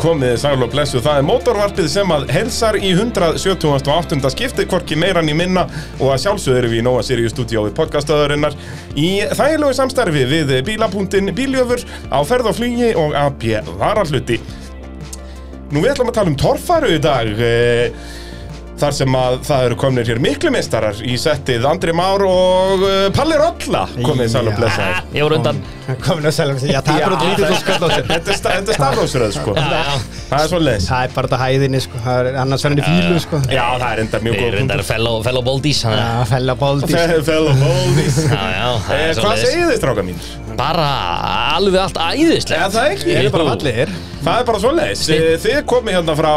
komið sæl og blessu. Það er mótorvarpið sem að heilsar í 178. skipti, hvorki meiran í minna og að sjálfsögðu erum við í Nóa Sirius stúdíó við podcastöðurinnar í þægilegu samstarfi við bílapúntin Bíljöfur á ferð og flugi og AB varalluti. Nú við ætlum að tala um torfaru í dag. eh, Þar sem að það eru komnir hér miklu meistarar í settið Andri Már og eh, Palli Rolla komið sæl og Já. blessaður. Ég voru undan Komin að selja sig, já það er bara lítið svo skall á sér Þetta er sta- þetta er stafrósröð sko Það er svo leiðis Það er bara þetta hæðinni sko, það er annars verðin í fílu sko Já, það er enda mjög Þeir góð eru punktur. reyndar fellow, fellow boldies hann Já, fella bóldi Fe- Fellow Boldies Já, já, Eh, það er Hvað svoleiðis. segir þið stráka mín? Bara alveg allt æðislegt það er ekki Ég er bara allir Það er bara svo leiðis Þið komið hérna frá,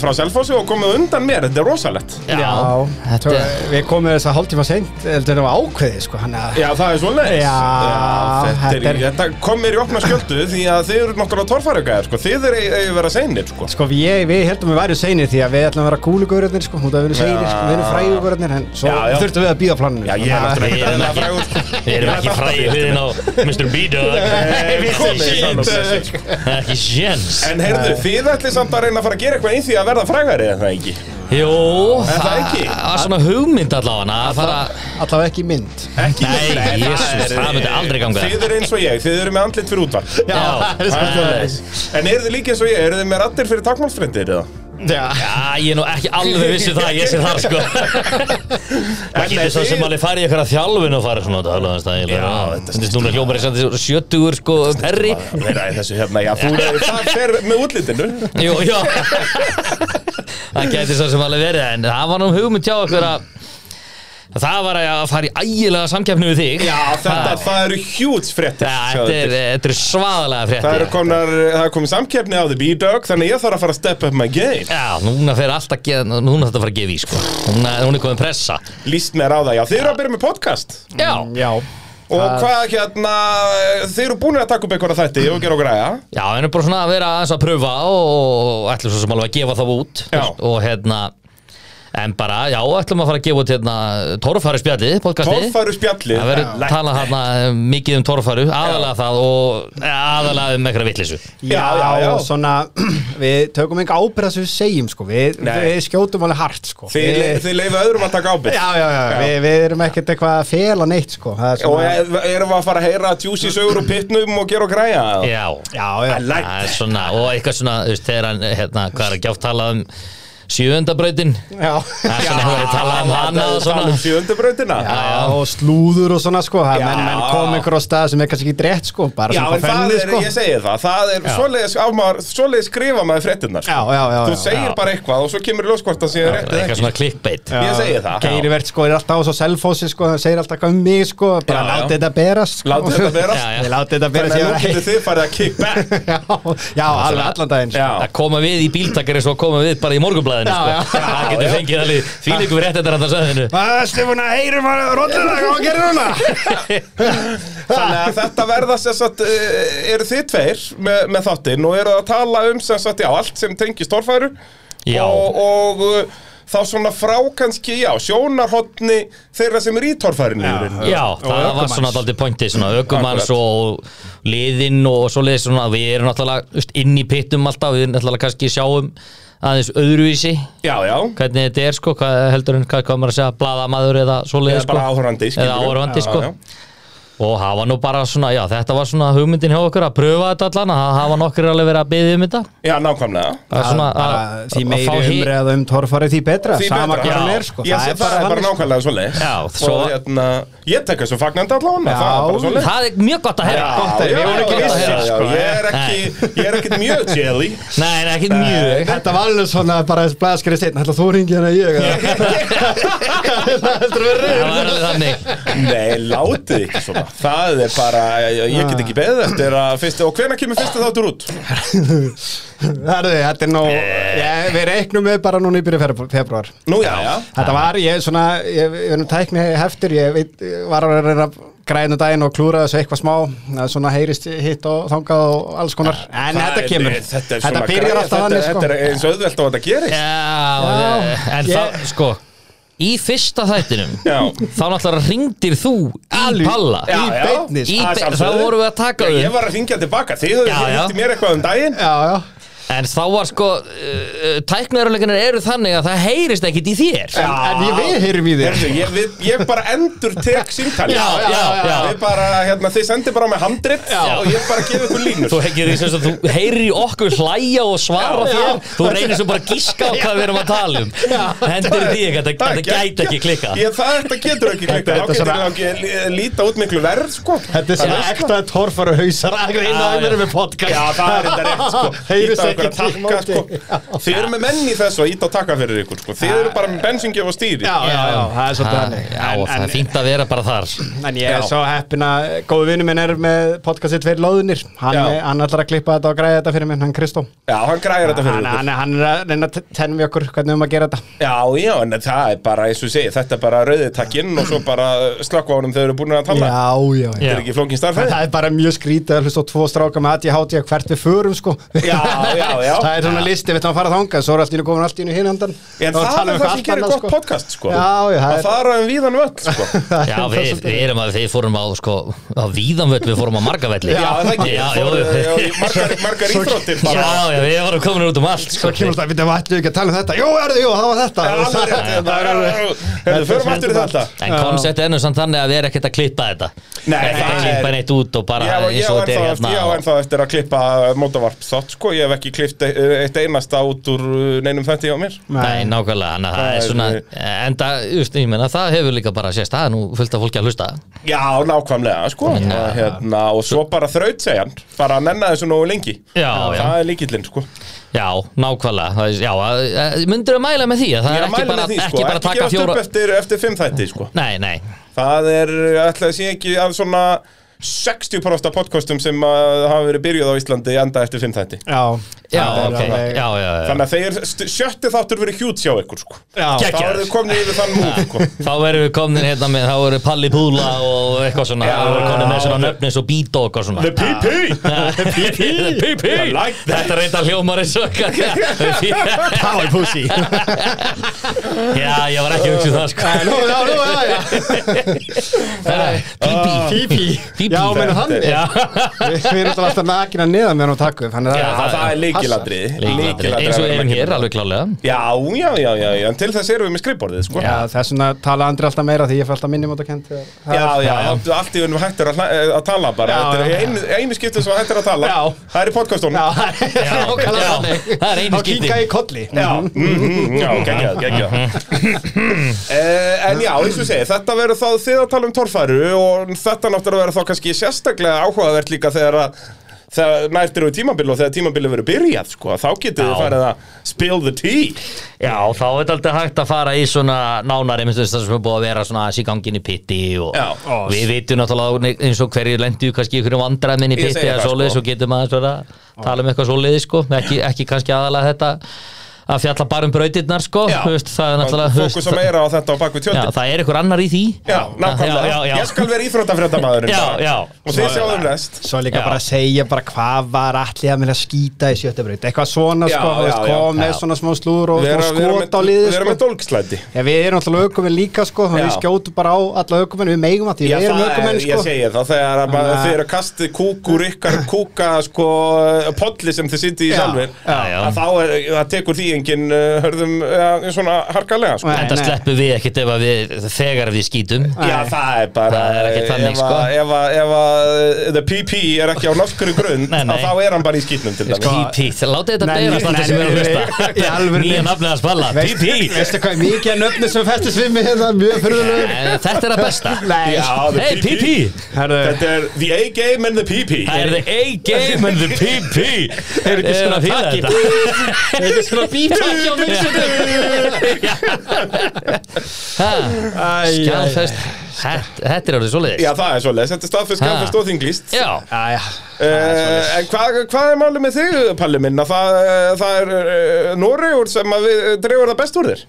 frá Selfossi og komið undan mér Þetta er rosalegt Já, þetta Svo, er Sko, Við komum þess að hálftíma seint, heldur það var ákveðið sko, hann að Já, það er svo leiðis Já, þetta, þetta er, er- þetta kom mér í opna skjöldu Því að þið eru náttúrulega torfærugæðar sko. Þið eru að vera seinir sko. Sko við, við heldum við væri seinir því að við ætlum að vera kúlugurarnir sko, hún það við erum seinir sko, við erum frægugurarnir, en svo Já, já. þurftum við að býða planinu sko, Já, ég er náttúrulega ekki dæðilega frægur sko. Við erum ekki fræði hliðin á Mr. B-Dog Eh, Við komið, erum sæl og shit. blessuð. Það er Ekki sjens En heyrðu, þið ætlið samt að reyna að fara að gera eitthvað í því að verða frægari eða það ekki? Jú, Er það ekki? var svona hugmynd allavega að fara Allavega ekki í mynd ekki Nei, það Jesus, er- það myndi aldrei ganga. Þið eru eins og ég, þið eru með andlit fyrir útvarp Já. það er Það er svolítið. svoleiðis. En eru þið líka eins og ég, eru þið með rattir fyrir takmálsfrendir eða? Já. Já, ég er nú ekki alveg vissi það, ég sé þar sko Það getur svo sem alveg farið ykkur að þjálfun og farið svona daglega stæl Já, Já, þetta- þetta er núna hljómar í samt sjötugur sko perri Þeirra er þessu hérna, já, þú eru, það fer með útlitinu Jú, já Það getur svo sem alveg verið en það var nú hugmynd hjá okkur að að það var að fara í ægilega samkeppni við þig Já, þetta, það eru hjúts fréttir Já, sjáðu þetta er, til. þetta er svaðalega Það eru frétti konar, það er komið samkeppni á The B-Dog Þannig ég þarf að fara að step up my game Já, núna fer alltaf að gefa, núna þetta að fara að gefa í sko Núna, núna er komin pressa Líst mér á það, já, þið eru að byrja með podcast Já, Já, Og Það- hvað, hérna, þið eru búinir að taka upp eitthvað þætti og gera okkur aðja Já, en er bara svona að vera aðeins að pröfa og ætlum svo sem alveg að gefa það út Já. og hérna en bara, já, ætlum að fara að gefa út hérna torfari spjallið, podcastið Torfaru spjallið Það verður talað hérna eh, mikið um torfaru, aðalega það og eh, aðalega um einhverja vitleysu Já, já, já. og svona, við tökum enga ábyrða sem við segjum, sko, við, Nei. við skjótum alveg hart, sko. Þið, við, þið leifa öðrum að taka ábyrgð já, já, já, Já. Við, við erum ekkert eitthvað að fela neitt, sko, það er Og svona, er- erum við að fara að heyra juicy sögur og pittnum og gera og græja? Já, já, já, I like það er svona, og eitthvað svona, þú veist, þegar hann, hérna, hvað er að gjátt talað um sjöundabrautin já, Það er svona, það er talað um hana og Tala svona um sjöundabrautina? já, og slúður og svona, sko, það Já. er menn, menn kom einhver á stað sem er kannski ekki rétt, sko, bara Já, svona en hvað það fenni, er, sko. ég segi það, það er svoleiðis, á maður, svoleiðis skrifa maður fréttinnar sko. Já, já, já, Þú já. segir Já. bara eitthvað og svo kemur í ljós hvort það sé rétt eða Eitthvað ekki svona klikkbeitt Ég segi það. Geirivert, sko, er alltaf á svo selfósi, sko, það segir alltaf hvað um mig, sko, bara Já, já. látið þetta berast, sko. Látið þetta berast. Já, já. Við látið þetta Þannig að berast, nú ég getur þið farið að kick back var- já, já, alveg allan daginn, sko. Já, að koma við í bíltakar eins og að koma við bara í morgunblæðinu Já, já. sko. það getur fengið alveg þvíleikum rétt þetta rannar söðinu Hvað, Stefán, að heyrum að rótlega hvað gerir núna? þannig að þetta verða sem sagt, eh, eru þið tveir með, með þáttinn og eru að tala um sem sagt, já, allt sem tengist torfæru Já. og, og eh, þá svona frá kannski, já, sjónarhotni þeirra sem eru í torfærinu í rauninni. Já, það var ökumanns. svona daldið pointið svona ökumanns og liðinn og svoleiðis svona við erum náttúrulega just, inn í pittum alltaf við náttúrulega kannski sjáum aðeins öðruvísi já, já, hvernig þetta er sko, hvað heldur en hvað komur að segja blaðamaður eða svoleiðis eða sko bara áhorandi eða áhorfandi sko já, og hafa nú bara svona, já þetta var svona hugmyndin hjá okkur að pröfa þetta allan að hafa nokkur alveg verið að byggja um þetta já, já, nákvæmlega að svona að, bara því að fá meiri hi- umræða um torfarið því betra Því sama betra. hvað hann Já. er sko Ég, það, er bara, þannig, sko. nákvæmlega svoleiðis Já, og svo- hérna, ég tek þessu fagnandi allan Já, það er bara svoleiðis Það er mjög gott að heyra gott að heyra. Við vorum ekki já, vissir, já, já, sko. Ég er ekki, ég er ekki mjög jelly Nei, nei, ekkert mjög þetta var alveg svona bara þess blaðskrið stein ætla þú ringi hérna ég Það var alveg þannig Nei, látið ekki svona Það er bara, ég, ég Ah. get ekki beðið eftir að fyrsta, Og hvenær kemur fyrsta þáttur út? Herðu, þetta er nú ég, við reiknum við bara núna í byrju februar Nú já, já þetta var ég svona ég, ég er nú tækni heftir ég veit, var að reyna að græna daginn og klúra þessu eitthvað smá það er svona heyrist hitt og þangað og alls konar Það en þetta er- kemur Þetta, er þetta svona byrjar græja, alltaf þetta- þannig sko Þetta er eins auðvelt á þetta gerist Já, en ég- þá, sko Í fyrsta þættinum Já. Þá náttúrulega ringdir þú í Alveg. Palla Já, í já. beinni, Í sko. Að be- sjálfsögðu. þá vorum við að taka Já, Ég upp var að ringja tilbaka, þið Já, höfðu já. hitt mér eitthvað um daginn já, já En þá var sko, uh, tæknaðurleikinir eru þannig að það heyrist ekkit í þér. En, en ég við heyrum í þér Herðu, ég, við, ég bara endur tek símtali Já, já, já, já. Við bara, hérna, þið sendir bara með handrit og ég bara gefi ykkur línur Þú hegir því sem sagt, þú heyrir í okkur hlæja og svara Já, þér, já. þú reynir svo bara að gíska á hvað við erum að tala um. Hendur því ekki, þetta- þetta gæti ekki klikka. ég, það, Þetta getur ekki klikka, þá Þetta- þetta getur svona- það ekki lí- líta út miklu verð sko. Þetta er svona Já. ekta torfara hausar að reyna Já, að vera já. með podcast Já, það er þetta rétt sko. Heyrist Íta okkur að ekki til takka móti. sko. Þið eru með menn í þessu að íta og taka fyrir ykkur sko. Þið eru bara með bensingjöf og stýri Já, já, já, það er svolítið Já, þannig. já, og það En- er fínt að vera bara þar. En en ég er Já. svo heppin að góðu vinnu minn er með podcastið Tveir Lóðunir hann, Já. hann ætlar að klippa þetta og græða þetta fyrir minn, hann Kristó Já, hann græðir þetta fyrir hann, ykkur hann, hann er að reyna að tennum við okkur hvernig um að gera þetta Já, já, en það er bara, eins og ég segi, þetta er bara rauðið takkinn og svo bara slökku á honum þegar þau eru búin að tala Já, já, Þetta er ekki flókin starfæði Það er bara mjög skrítið að hlusta á tvo stráka með ADHD að hvert við förum sko Já, já, já. Það er svona listi, við þarfum að fara þangað svo er allt í einu komin allt í einu hinandan um En það er það sem gerir gott podcast sko. Já, já, það Að er- fara um víðan völl sko. Já, við, við erum að, við fórum á, sko, á víðanvöld, við fórum á margavelli. Já, það ekki Já, Fóru- já, já, í margar, margar íþróttir Já, bara. já, við varum komin út um allt Svo sko. kemur alltaf, við ætlum ekki að tala um þetta Jú, er jú, það var þetta Já, það er rétt, það er rétt. Herðu, förum aftur í þetta En koncept er nú samt þannig að við erum ekkert að klippa þetta Nei, Ekkert það að er- klippa neitt út og bara Ég á- eins ég á og þetta er ennþá hérna eftir- ég á og- ennþá eftir að klippa mótavarp þátt sko, ég hef ekki klippt e- eitt einasta út úr uh, neinum þetta hjá mér Nei, nákvæmlega, þannig að það er svona Enda, just, ég meina, það hefur líka bara sést Það er nú fullt af fólki að hlusta Já, nákvæmlega sko ja. hérna, og svo bara þraut segjan bara að nenna þessu nógu lengi Já, já. það er líkillinn sko Já, nákvæmlega það er- Já, að- myndirðu að mæla með því að Það Ég er er að ekki mæla bara, með því ekki sko, bara ekki taka gefast fjóra upp eftir, eftir fimm þætti sko Nei, nei, Það er, ætlaði að sé ekki að svona 60% af podcastum sem að hafa verið byrjuð á Íslandi enda eftir 5 þætti Já, já, það er ok Já, alveg- já, já, já Þannig að þeir st- sjötti þáttur verið hjút sjá ykkur sko Já, Gegn. Þá eru þið komnið yfir þann múl sko Þá verðum við komin hérna með, þá verðum Palli Púla og eitthvað svona, Já. þá verðum við komin með svona nöfnis og bítók og svona. PP PP I like that. Þetta reynda hljómar eins og Power pussy Já, ég var ekki að hugsa það sko Nú, já, nú, já, já Pípi Pípi Pípí. Já, menn þannig Já, Við við erum alltaf nakina neðan meðan við takkum Þannig að Já, Það það er líkiladrið Lykilatriði. eins og hérna. við erum hér alveg klálega Já, já, já, já, já, en til þess erum við með skrifborðið sko Já, þess vegna tala andri alltaf meira því ég fæ alltaf minni mót að kent Já, já, allt í unum hættir að, hla- eh, að tala bara Já, Þetta já. er einu, einu skiptum sem hættir að tala Já. Það er í podcastunum Já, já, það er einu Þá skipti. kinka ég kolli Já, mhm, já, geggjað, geggjað Mhm. uh, En já, eins og ég segi, þetta verður þá þið að tala um torfæru og þetta náttúrulega verður þá kannski sérstaklega áhugavert líka þegar að þegar nærtir við tímabil og þegar tímabilið verður byrjað sko, þá getið þið Já. farið að spill the tea Já, þá er þetta alltaf hægt að fara í svona nánari, minnst þess að sem er búið að vera svona aðeins í gangin í pitti og Já. og við vitum náttúrulega eins og hverju lendu kannski ykkur um vandræðminn í Ég pitti segi eða það, svoleiðis sko. og getum aðeins vera að tala um eitthvað svoleiðis sko, ekki, ekki kannski aðalega þetta að fjalla bara um brautirnar sko, Já. Þú veist, það er náttúrulega þú veist, Fókusa meira á þetta á bakvið Já, tjöldin það er ykkur annar í því Já, nákvæmlega, já, já, já. ég skal vera íþróttafréttamaðurinn Já, bara. já. Og þið um sjáum rest Svo líka Já. bara að segja bara hvað var allir að vilja skýta í sjöttabraut Eitthvað svona Já, sko, þú veist, já, já. kom með Já. svona smá slúr og Vera, smá vera, skot á með, liði vera sko. með dólkslæti Já, við erum alltaf aukumenn líka sko, þannig að Já. við skjótum bara á alla aukumenn, við meigum að því, við erum aukumenn sko. ég segi það, þegar að maður- Þannig að- þið eru að kasta kúkur ykkar kúka sko, podli sem þið sitið í Já, sjálfur já. að þá er, það tekur því engin uh, hörðum uh, svona harkalega sko. Nei, en það nei. sleppum við ekkert ef að við þegar við skýtum Já, það er bara Það er ekkert þannig, ef, að- sko. ef, að- ef að uh, the PP er ekki á nokkru grund Nei, Sko, nei. að þá er hann bara í skýtnum til dæmis PP, látið þetta sko. Nei, beirast nei, alltaf nei, sem er að nei, hlusta nei, í alvörunni. nýja nafnið að spalla, Veist- PP Veistu hvað er mikið að nöfni sem festist við mig hérna, mjög fyrirlega En þetta er að besta Nei, Já, the hey PP, herðu, Þetta er the A-game and the PP það er the A-game and the PP Er ekki svona að fíla taki? þetta? þetta er svona Takk hjá mig, Ha, bítur Skjálfest Þetta þetta er orðið svoleiðis Já, það er svoleiðis, þetta er staðfest Ha. gafast og þinglist Já, Æja, Uh, en hvað hva er málið með þig, Palli minn, að það, eh, það er uh, Noregur sem að við eh, dregur það best úr þér?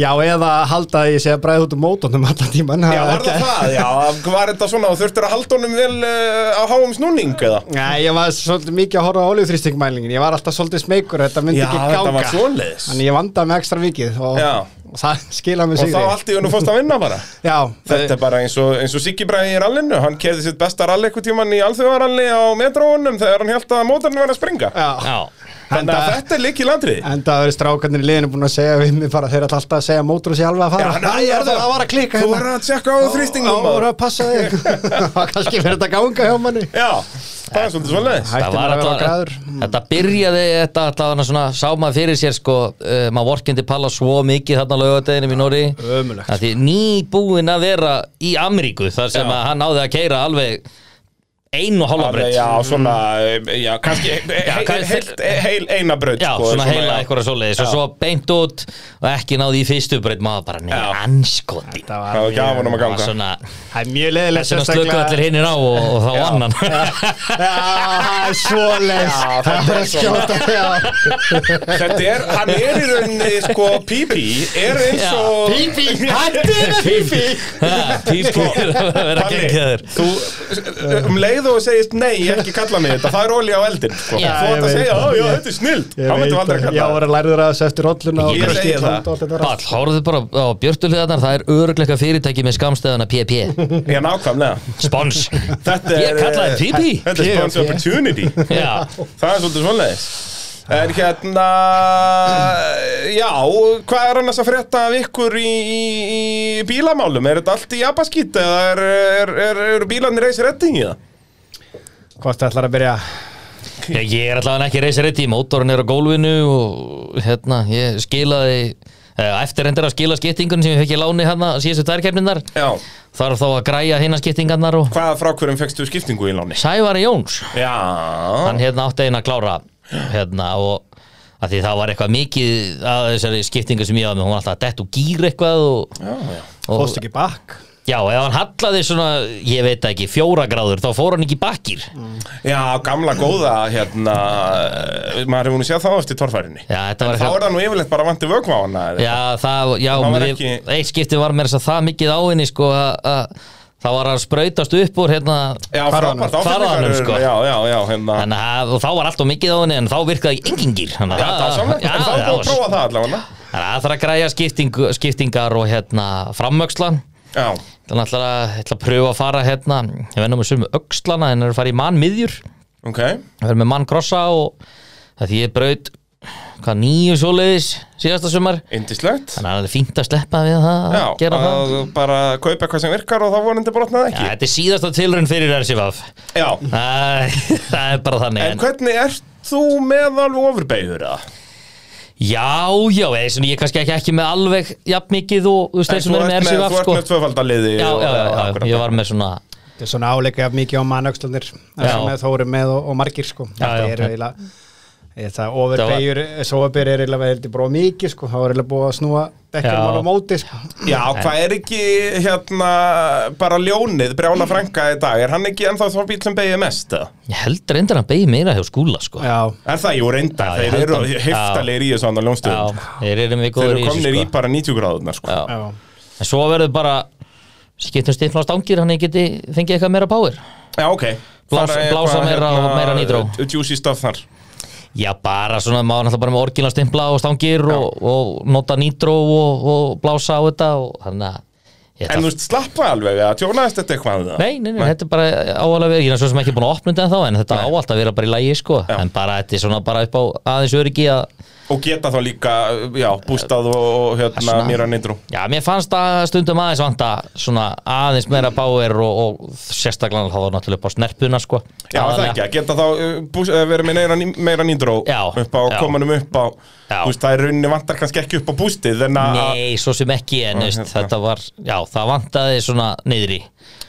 Já, eða halda að ég sé að bræða út um mótunum allan tíman Já, var það það? Já, var þetta svona og þurftir að halda honum vel uh, á háum snúning eða? Nei, ég var svolítið mikið að horfa á olíuþrýstingmælingin Ég var alltaf svolítið smeykur, þetta myndi ekki ganga þetta var svoleiðis Þannig ég vandaði með ekstra vikið og, Já. og það skilaði Og mig þá sigri allt í önum fórst að vinna bara Já, Þetta er bara eins og, eins og Siggi Bræði í rallinu Hann keði sitt besta rall eitthvað tíman í alþjóðaralli á metróunum þegar hann held að mótarinn var að springa já. Já, Þannig að eh, þetta er líkil andrið En það eru strákarnir í liðinu búin að segja við mig bara þeir ætla alltaf að segja mótur og sé alveg að fara Já, nei, Æ, er það var að hérna. klika Þú verður að tjekka á þrýstingum Það voru að passa þig Kannski verður þetta ganga hjá manni Já, það er svolítið svolítið Hættir það maður að var vera Mm, allavega- græður Þetta byrjaði, þetta allavega svona sá maður fyrir sér sko, uh, maður vorkindi palla svo mikið þarna á laugadeginum í Nóri Ömurlegt. Það því nýbúin að vera í Ameríku þar sem Já. að hann náði að keira alveg einu og hálfa Alveg, breytt já, svona, já, kannski Já, heil, heil, kannski- heil, heil eina braut Já, sko, svona heila já. eitthvað svoleiðis og Já. svo beint út og ekki náði í fyrstu breytt maður Já. bara neina anskotin Það Það var mjög- gafan um að Það var ganga svona, Það er mjög leðilegt þess vegna slökku allir hinnir á og, og þá vann hann Já, svoleiðis Já, þetta Það er er að skjóta já. Þetta er, hann er í rauninni, sko, Pípi Er eins Já. og Pípi, hættu með pípi Ha, Pípi er að vera Palli, geggjaður Þú, um leið og þú segist nei, ekki kalla mig þetta Það er olja á eldin, sko Já, Þú ætti ég að veit segja, það. já, já, þetta er snilt Þá myndum aldrei að Já, kalla var að læra þér að þessu eftir rolluna og Ég Bröskið segi það. land og allt þetta Pall, rall. hóruðu bara á björtulegarnar það er örugleika fyrirtæki með skamstæðana PP það Já, nákvæmlega Spons Þetta Ég er, kallaði PP Þetta er sponsor P.O.P. opportunity Já, Það er svolítið svoleiðis En hérna, já, hvað er annars að frétta af ykkur í, í, í bílamálum? Er þetta allt í abaskýt eða er, er, er, er bílarnir reisir reddi í það? Hvort ætlar að byrja Já, ég er allavega ekki reysir eitt í mótorinn er á gólfinu og hérna, ég skilaði eh, eftir endur að skila skiptingun sem ég fekk í láni hérna síðustu dærkeppninnar Já, þarf þá að græja hérna skiptingarnar og hvaða frákvörum fegstu skiptingu í láni? Sævari Jóns Já, hann hérna átti einn að klára hérna og að því það var eitthvað mikið að þessari skiptingu sem ég hafði með, hún var alltaf að dett og gýr eitthvað og, já, já. og Fóst ekki bakk já, ef hann hallaði svona, ég veit það ekki, fjóra gráður þá fór hann ekki í bakkýr Mm. já, gamla góða, hérna, maður hefur nú séð þá eftir torfærinni. já, þetta Þá var eitthvað er það nú yfirleitt bara vandi vögn á hana. eða? Já, það, já, Það var mér- ekki- eitt skipti var mér þess að það mikið á henni sko að að það var að sprautast upp úr hérna já Farðanum. frábært áfengar. Farðanum, sko. Já, já, já, hérna. Þannig að og þá var alltaf mikið á henni en þá virkaði engin gýr Já, Já, það er samlega, já, en þá er búið það að var- prófa það allavega. Þannig að það þarf að græja skipting, skiptingar og hérna framöxla Já. Þannig ætla að, ætla að pröfa að fara hérna ég vennum að sömu öxlana en er að fara í mannmiðjur Ok, Það er með mannkrossa og það því ég braut hvað nýju svoleiðis síðasta sumar indislegt Þannig að það er fínt að sleppa við það Já, að gera það að bara kaupa eitthvað sem virkar og þá vonandi brotnaði Já, ekki þetta er síðasta tilrun fyrir RCVF Já, Það það er bara þannig en en, hvernig ert þú með alveg ofurbeigður eða? Já, já, eða, svona, ég er kannski ekki, ekki með alveg jafn mikið og þú veist þeir En sem þú eru með ert RCVF þú ert sko. með tvöfaldaliði já, já, já, já, ég var með svona Þetta er svona áleika jafn mikið á mannöxlunir Já. sem þó eru með og, og margir sko já. Þetta er eiginlega ég- Það overbeigur, sofabeir er eiginlega heldur bróð mikið sko, þá er eiginlega búið að snúa Já. dekkjum á móti sko Já, hvað er ekki hérna bara ljónið, brjála frænka í dag er hann ekki ennþá þá bíl sem beigir mest? eða? Ég held reyndar að beigja meira hjá skúla sko. já, Já, Er það, jú, reynda, Já, ég þeir held eru að- heftalegir í þessu andan ljónstöðum sko. þeir eru mjög Þeir góður eru í komnir þessu í sko. bara 90 gráðunar sko. Já. já En svo verður bara skiptum stifla á stangir hann ég geti fengið eitthvað meira power Já, ok Blás- Fara eitthvað, hérna, blása meira og meira nýtró. Juicy stuff þar Já, bara svona, maður er náttúrulega bara með orginal stimpla og stangir og, og nota nýtró og, og blása á þetta og þannig að ég ætla En þú veist, slappa alveg, eða tjónaðist þetta eitthvað eða? Nei, nei, nei, þetta er bara áalega verið, ég er svo sem ekki búin að opna þetta en þá en þetta á alltaf að vera bara í lægi sko en bara þetta er svona bara upp á aðeins öryggi að Og geta þá líka, já, bústað og, og hérna, Svona. mýra nýndrú Já, mér fannst að stundum aðeins vanta svona aðeins meira báir og, og sérstaklega þá var náttúrulega upp á snerpuna sko Já, það Aðalega. ekki, að geta þá uh, bús, eh, verið með meira, ný- meira nýndró Já, upp á, já. komanum upp á Já. Þú veist, það er rauninni vantar kannski ekki upp á bústið en að, Nei, svo sem ekki en Já, veist, hérna. þetta var, já, það vantaði svona niðri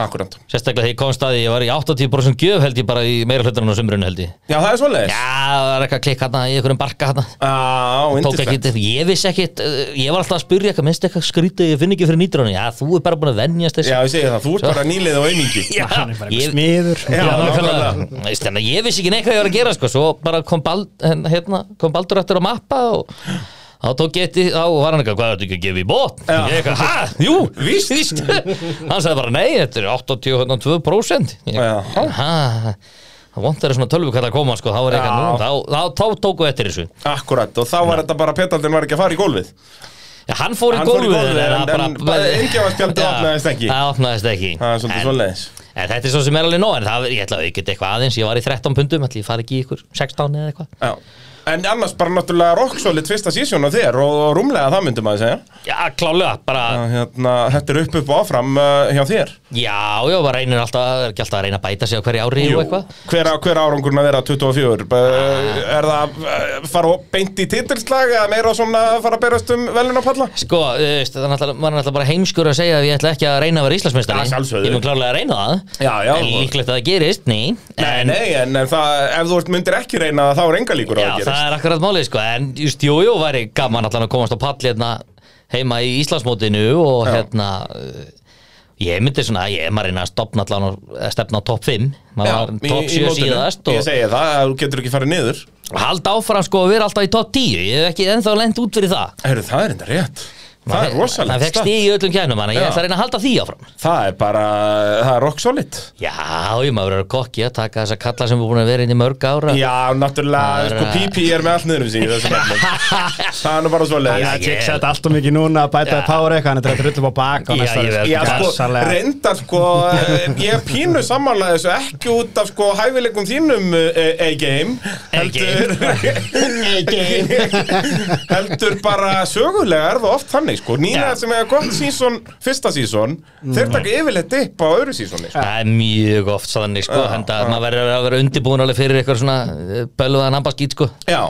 akkurant Sérstaklega þegar ég komst að því, ég var í 80% gjöf held ég bara í meira hlutunum á sumrunu held ég Já, það er svoleiðis Já, það var eitthvað klikk hérna í einhverjum barka hérna Á, tók yndislegt. ekki, ég vissi ekkit uh, ég var alltaf að spyrja eitthvað, minnst eitthvað skrítið ég finn ekki fyrir nýtrónu, já þú er bara búin að venjast þessu Já, ég segi það, þú ert bara nýlið og aumingi já, hann er bara ég, eitthvað smiður Já, já, nákvæmlega. nákvæmlega. Veist, þannig að ég vissi ekki neitt hvað ég var að gera sko, svo bara kom, bald, hen- hérna, kom Baldur eftir að mappa og þá tók ég eftir, þá var hann eitthvað, hvað er þetta ekki að gefa í bót? Já. Ég eitthvað, hæ, jú, víst, víst hann sagði bara, nei, þetta er 82% Ég- Já. "Ha, það vantar svona 12 kall að koma sko, þá var ég eitthvað, nú, þá, þá, þá tóku eftir þessu Akkurat, og þá var þetta bara petaldin var ekki að fara í gólfið Já, hann fór í Hann fór í gólfið gólfið, en- en bara engjavaspjaldið Já, opnaðist ekki. Það opnaðist ekki Það er svolítið En- svoleiðis En þetta er svo sem er alveg nóg, en það, ég ætla að auka þetta eitthvað aðeins, ég var í 13 pundum, ætla ég fari ekki í ykkur 16 eða eitthvað. Já. En annars bara náttúrulega rocksolid fyrsta sísjón á þér og, og rúmlega það myndum að segja Já, klálega, bara, Að, hérna, Þetta er upp upp og áfram uh, hjá þér já, já, bara reynir alltaf, er ekki alltaf að reyna að bæta sig á hverju ári og eitthvað. Ah. hver, á- hver árangurinn að vera 24? B- Er það uh, fara og beint í titilslag eða meira svona fara að berast um velun að palla? Sko, þú veist, það er náttúrulega- maður er náttúrulega bara heimskur að segja að ég ætla ekki að reyna að vera Íslandsmeistari. Já, sjálfsögðu. Ég mun klárlega að reyna það. Já, já. En líklegt að það gerist, ný. Nei, nei, en, en það, ef þú ert myndir ekki reyna það, þá er enga líkur á Já, að gera það er akkurat málið, sko, en just, jú, jú, væri gaman allan að komast á pall hérna heima í Íslandsmótinu og Já. hérna, uh, ég myndi svona, ég er maður að reyna að stopna allan og að stefna á topp 5, maður var topp 7 síðast Ég og segi það, að þú getur ekki farið niður halda áfram sko að vera alltaf í topp 10, ég hef ekki ennþá lent út fyrir það. Heru, Það er enda rétt Það er Það rosalegt fekk stökk. stig í öllum kænum, þannig að Já. ég ætla að reyna að halda því áfram. Það er bara, það er rock solid Já, ég maður verið að kokki að taka þessa kalla sem er búin að vera inn í mörg ára. Já, náttúrulega, Það er, sko, uh, PP er með allt niður um sig í þessum efnum. Það er nú bara svo Þannig leiðis að ég- Jake sett allt og mikið núna að bæta Já. í power eitthvað, hann er þetta rullum á bak á Já, næsta ég ári. veit. Já, sko, Gjörsamlega. reyndar, sko, eh, ég er pínu samanlega þessu ekki út af, sko, hæfileikum þínum, eh, A-game, heldur, heldur bara sögulega er það oft þannig, sko, nýna Já. sem hefur gott sísón, fyrsta sísón, Mhm. þeir taka yfirleitt upp á öðru sísóni, sko. Það er mjög oft þannig sko, Já, henda að maður verður að vera undirbúin alveg fyrir eitthvað svona eh, bölvaðan ambaskýt sko, Já,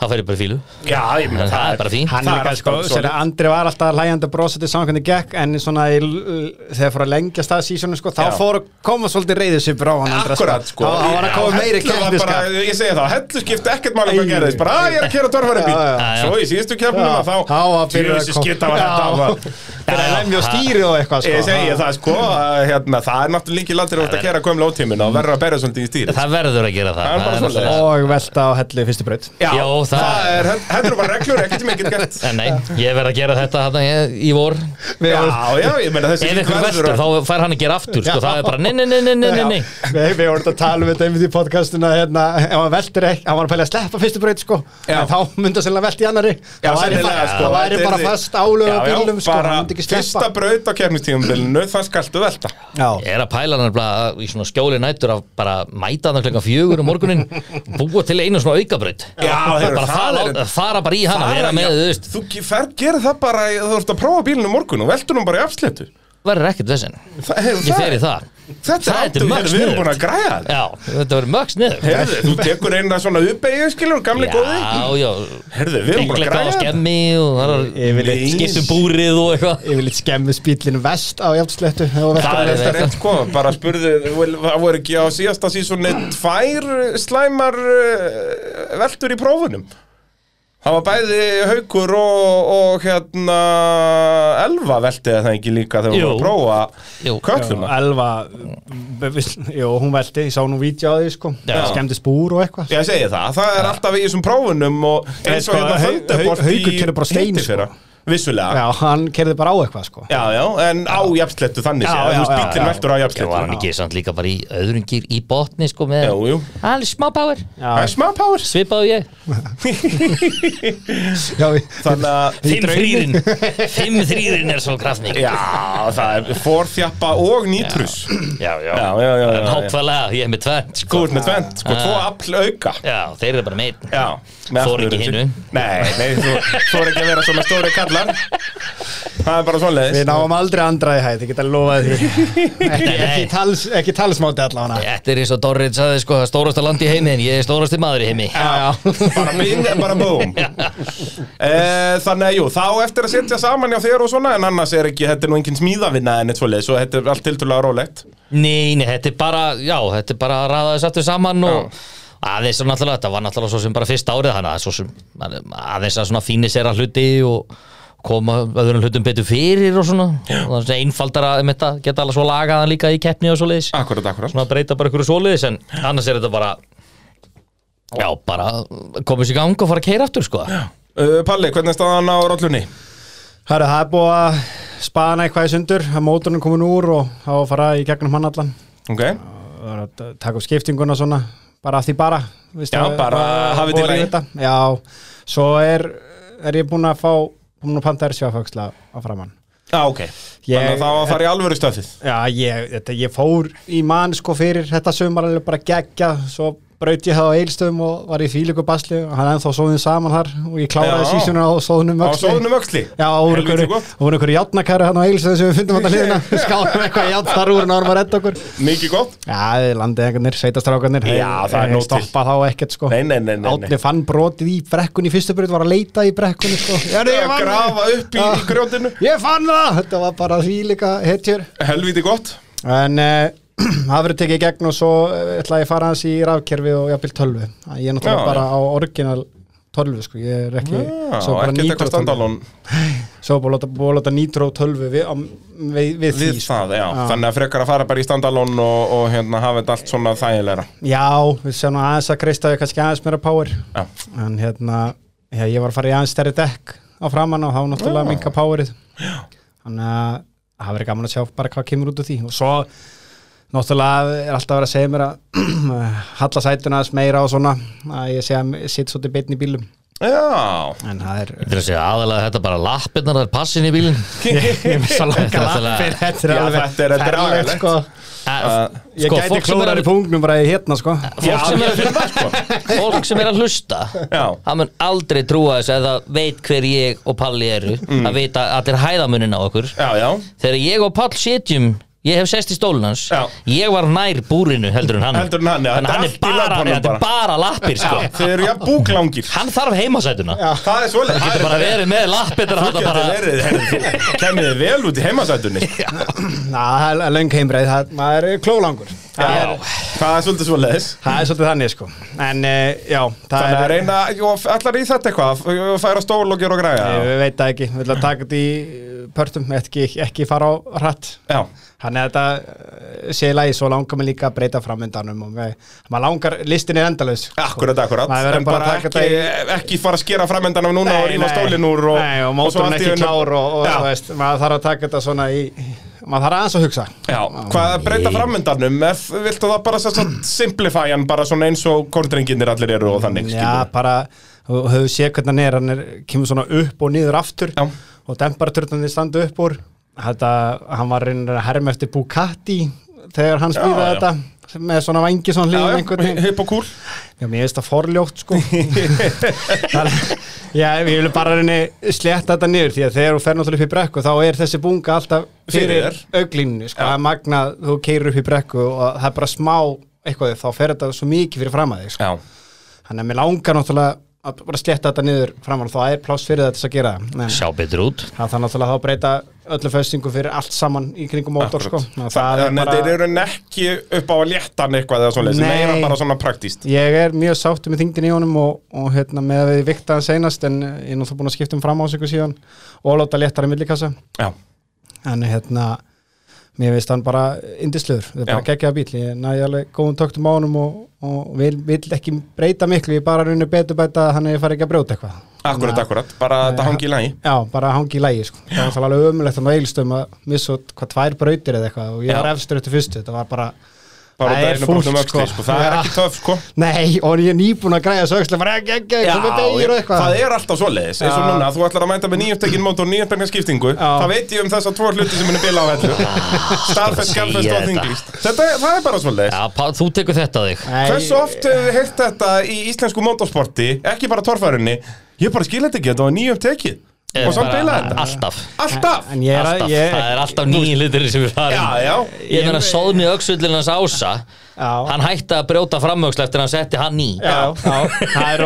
þá fer ég bara í fílu. já, ég meina, En það er bara fínt. Hann það er líka, alltaf sko, svoleiðis. sér að Andri var alltaf hlægjandi brosandi samkvæmni gekk en svona í, l- þegar fór að lengja stað sísonu sko, þá Já. fór að koma svolítið reyðisipur á hann Andra, Akkurat, sko Þá þá var að koma Já, meiri hellu var kæftiskap bara- Ég segi það, hellu skipti ekkert máli hvað Nei. gerðist Bara, að ég er að kera törfæri bíl Já, já, já. Svo í síðustu keppnum Já. að þá Þá var byrjað að Þessi koma. skita var Já. þetta var- Fyrir að Já, lemja og það- stýri og eitthvað sko Ég segi það, sko að, hérna, Það er náttúrulega líki landir út að kera gömla ótímina og verður að berja svolítið í stýri Það verður að gera það. Það er bara svoleiðis. náttúrulega- Og velta á hellu í fyrstu braut Já, Jó, það- það er Þetta eru bara reglur, ekkert sem ekkert gert En nei, ég verð að gera þetta hérna ég- í vor. Við Já, vorum- já, ég meina þessi Ef ykkur verður vestur, að- þá fær hann að gera aftur sko, Já. það er bara nei, nei, nei, nei, nei, nei, nei. Já, Við við vorum að tala um þetta einmitt í podcastinu að hérna, ef hann veltir ekki, hann var að pæla að sleppa fyrstu braut sko, Já. en þá myndi að selja velti í annari Já, það væri, sennilega, bara- sko, það væri þetta bara yrði- fast álög á Já, já, bílum sko, bara hann myndi ekki Fyrsta sleppa braut á kefnistífumbilinu, það skaltu velta Já, Ég er að pæla hann í svona skjóli nættur að bara mæta hann klokkan fjögur um morgunin búa til einu svona aukabraut Já, heyrðu, bara það fara, er- fara bara í hana, Bara, vera með, já, þú veist Þú fer, gerir það bara, þú ert að prófa bílinu morgun og veltur hún bara í afslutu verður ekkert vesen Þa- heyrðu, ég það- fer í það Þetta er Það er aldrei, mörg við erum sniðugt. búin að græja þetta já, þetta verður mögst niður Herðu, þú tekur eina svona uppeyju, skilur, gamli góði já, já, Herðu, við erum bara að Englega á græja þetta skemmi og það Ég er vil- Nei. skiptum búrið og eitthvað yfirleitt skemmis bílinn vest á jafnslettu Það Það er er þetta þetta. rétt sko, bara spurðu, well, það voru ekki á síðasta sísóni tvær slæmar uh, veltur í prófunum Það var bæði haukur og, og hérna elva veltið það ekki líka þegar við Jú. vorum að Jú. prófa kölluna Elva Jó, hún velti, ég sá nú vídeo á því sko Já. skemmdi spúr og eitthvað Ég segi það, það er alltaf í þessum prófunum og eins og sko, hérna Hau- Thunderbolt Hau- Haukur í kemur bara á stein, hittiðfyrra. Vissulega, Já, hann kerði bara á eitthvað sko Já, já, en á jafnslettu þannig Já, séð, já, þú veist, já, bíllinn já. veltur á Já, var hann jafnslettu ekki samt líka bara í öðrum gýr í botni sko með Jú, jú, alveg smá power það er Já, smá power svipaðu ég já, við- Þannig að, fimm þrýrin fimm þrýrin er svo kraftning já, það er forþjappa og nýtrus já, Já, já, já, já, já, já. nákvæmlega, ég er með tvennt Þú sko. ert með tvent, sko, tvo afl auka já, þeir eru bara meitt Já, með Þor aflurinn ekki sinn. hinu. Nei, nei, þú þú er ekki að vera svona stóri kallar Það er bara Við svonleiðis náum aldrei andra í hæð, ég get að lofa því Ekki, Nei, nei. ekki, tals, ekki talsmáti allavega þetta er eins og Dorrit saði sko, það er stórasta land í heimi en ég er stórasti maður í heimi Já, já Bara bing, bara búm e, Þannig að jú, þá eftir að setja saman hjá þér og svona En annars er ekki, þetta er nú engin smíðavinna en eitt svoleiðis Og þetta er allt tiltrúlega rólegt Nei, nei, þetta er bara, já, þetta er bara að raða þess aftur saman og aðeins og náttúrulega, þetta var náttúrulega svo sem bara fyrst árið þannig að svo sem maður- aðeins að svona fínisera hluti og koma öðrum hlutum betur fyrir og svona, og það er svona einfaldara um þetta, geta alveg svo lagaðan líka í keppni og svoleiðis, Akkurat, akkurat svona breyta bara ykkur svoleiðis en annars er þetta bara já, bara komið sér í gang og fara að keira aftur sko Uh, Palli, hvernig er staðan á rollunni? Herru, það er búið að spana eitthvað í sundur Mótorinn komin úr og þá að fara í gegnum hann allan Ok, Það var að taka upp skiptinguna svona bara af því bara veist Já, að- bara að- hafið til búið að lagi. rífa þetta. Já, svo er, er ég búinn að fá komin og pantaði sjáfaksla á framann Já, ok. Ég- Þannig að það var að fara í alvöru stöfið. Já, ég, þetta, ég fór í mann sko fyrir þetta sumar alveg bara geggja svo braut ég það á eilstöðum og var í fílíku basli og hann ennþá sóðin saman þar og ég kláraði Já. sísunum á sóðunum Á öxli sóðunum öxli. Já, og voru Helvíti einhverju- gott. og voru einhverju játnakæru hann á eilstöðum sem við fundum alltaf hliðina skálum eitthvað játn þar úr en árum að redda okkur Mikið gott. Já, þið landið einhvernir, sveitastrákarnir Já, það er nóg til. Stoppa þá ekkert sko Nei, nei, nei, nei, nei. Átni fann brotið í brekkunni í fyrstu breyt var að leita í brekkunni sko Já, nei, Að grafa upp í, Já. í grjótinu. Ég fann það! Þetta var bara þvílíka hetjur Helviti gott. En eh, það verður tekið í gegn og svo eh, ætla ég að fara hans í rafkerfi og jafnvel tölvu. Að Ég er náttúrulega Já, bara á orginal tölvu sko, ég er ekki Já, svo bara ekkert eitthvað nýtró standalón svo bara láta, búið að láta nýtró tölvu við, á- við, við því við sko. það, já. Þannig að frekar að fara bara í standalón og, og hérna hafa þetta allt svona þægilegra. Já, við séum nú aðeins að kreista við kannski aðeins meira power Já. en hérna, já, ég var að fara í aðeins stærri dekk á framann og þá náttúrulega Já. minka powerið þannig að það verður gaman að sjá bara hvað kemur út úr því og svo náttúrulega er alltaf að vera að segja mér að halla sætuna aðeins meira og svona að ég sé að ég sitt svolítið beinn í bílum Já. en það er Þetta er að segja aðalega þetta bara lappirnar, það er passin í bílinn ég er svo Þetta langa er lappir þetta er Já, alveg þetta er- þetta er alveg, agalegt. sko, Eh, ég sko, gæti fólk sem er klórar í að- pungnum bara í hérna sko Fólk sem er að sko. Fólk sem er að hlusta Já. Það mun aldrei trúa þessu eða veit hver ég og Palli eru Mm. að vita allir hæðamunin á okkur Já, já. Þegar ég og Pall setjum Ég hef sest í stólun hans Já. Ég var nær búrinu heldur en hann Heldur en hann, já. Þannig að hann er Þetta er allt í bara, löpunum þetta er bara lappir sko. Þeir eru jafn búklangir. Hann þarf heimasætuna Já. Það er svolítið. Getur bara verið með lappir Þú getur verið, heyrðu, þú kemur þið vel út í heimasætunni. na, það er löng heimreið, það- maður er klólangur það er Já. Það er svolítið svolítið. Það er svolítið þannig sko En uh, já, það Þannig að er reyna, jú, allar í þetta eitthvað, að færa stól og gera og græja. Ég veit það ekki, við ætlum að taka þetta í eh, pörtum ekki, ekki fara á hratt Já, Þannig að þetta eh, sé í lagi Svo langar mig líka að breyta framöndanum og með, maður langar, listin er endalaus akkurat, akkurat Maður verður En bara að bara taka ekki, ekki fara að skera framöndan af núna og rífa stólinn úr og, nei, og svo mótorinn allt í ekki einu- klár og, og Já, þú veist, maður þarf að taka þetta svona í maður þarf aðeins að hugsa já, hvað að breyta framöndanum ef viltu það bara sérst að simplify hann bara svona eins og korndrenginir allir eru og þannig Já, bara, þú hefur séð hvernig hann er hann er, kemur svona upp og niður aftur Já. og demparaturðanir standa upp úr þetta, hann var reynir að herma eftir Bugatti þegar hann Já, smíðaði já. þetta sem- með svona vangi svona hliðum einhvern skilur veginn Hipp og kúl Já, mér finnst það forljótt sko Þannig- Já, ég vil bara reyni slétta þetta niður því að þegar þú fer náttúrulega upp í brekku þá er þessi bunga alltaf Fyrir fyrir þér. auglínu sko, Já. það er magna þú keirir upp í brekku og það er bara smá eitthvað þá fer þetta svo mikið fyrir fram að þig sko. Já, Þannig að mér langar náttúrulega að bara slétta þetta niður framan og það er pláss fyrir þetta að gera það. En Sjá betur út það þarf náttúrulega þá að breyta öllu föstingu fyrir allt saman í kringum mótor sko. akkurat Ná, það er Þannig að þeir bara, eru ekki upp á að létta hann eitthvað eða svona Nei. meira bara svona praktíst ég er mjög sáttu með þingdin í honum og, og hérna, með að við vikta hann seinast en ég er náttúrulega búin að skipta um fram á sig síðan og láta léttara millikassa Já, en hérna mér finnst hann bara indisluður það er bara Já. geggjaða bíl, ég næði alveg góðum töktum á honum og, og vil, vil ekki breyta miklu, ég bara raunir betur bæta að hann að ég fari ekki að brjóta eitthvað akkurat, akkurat Bara þetta hangi í lagi Já, bara að hangi í lægi sko. Það var það alveg ömulegt þannig á eilstöðum að missa út hvað tvær brautir eða eitthvað og ég var Já. efstur eftir fyrstu, þetta var bara Bara Það út er af einu brotnum fúlt, öxli sko. sko. Það er Já. ekki töf sko Nei, og ég er nýbúin að græða sögslega bara ekki, ekki, ekki, komið beigir og eitthvað það er alltaf svoleiðis eins og Já. núna, þú ætlar að mæta með nýjöftekin mótor nýjöftekin skiptingu, það veit ég um þess að tvo hluti sem muni bila á hellu Ah, sko, starfest, Segja skjálfest og þetta. þinglist þetta, er- það er bara svoleiðis Já, pa, þú tekur þetta á þig Nei, hversu oft hefur við heyrt þetta í íslensku mótorsporti ekki bara torfærunni, ég bara skil þetta ekki þetta var nýjöftekið Eh, og samt bara bila þetta Alltaf alltaf, En ég er að, Alltaf, ég, það er alltaf nýjum hlutir sem við farum já, já Ég meina sóðni öxullin hans ása Já. Hann hætti að brjóta framöxl eftir að hann setti hann í já, já, það er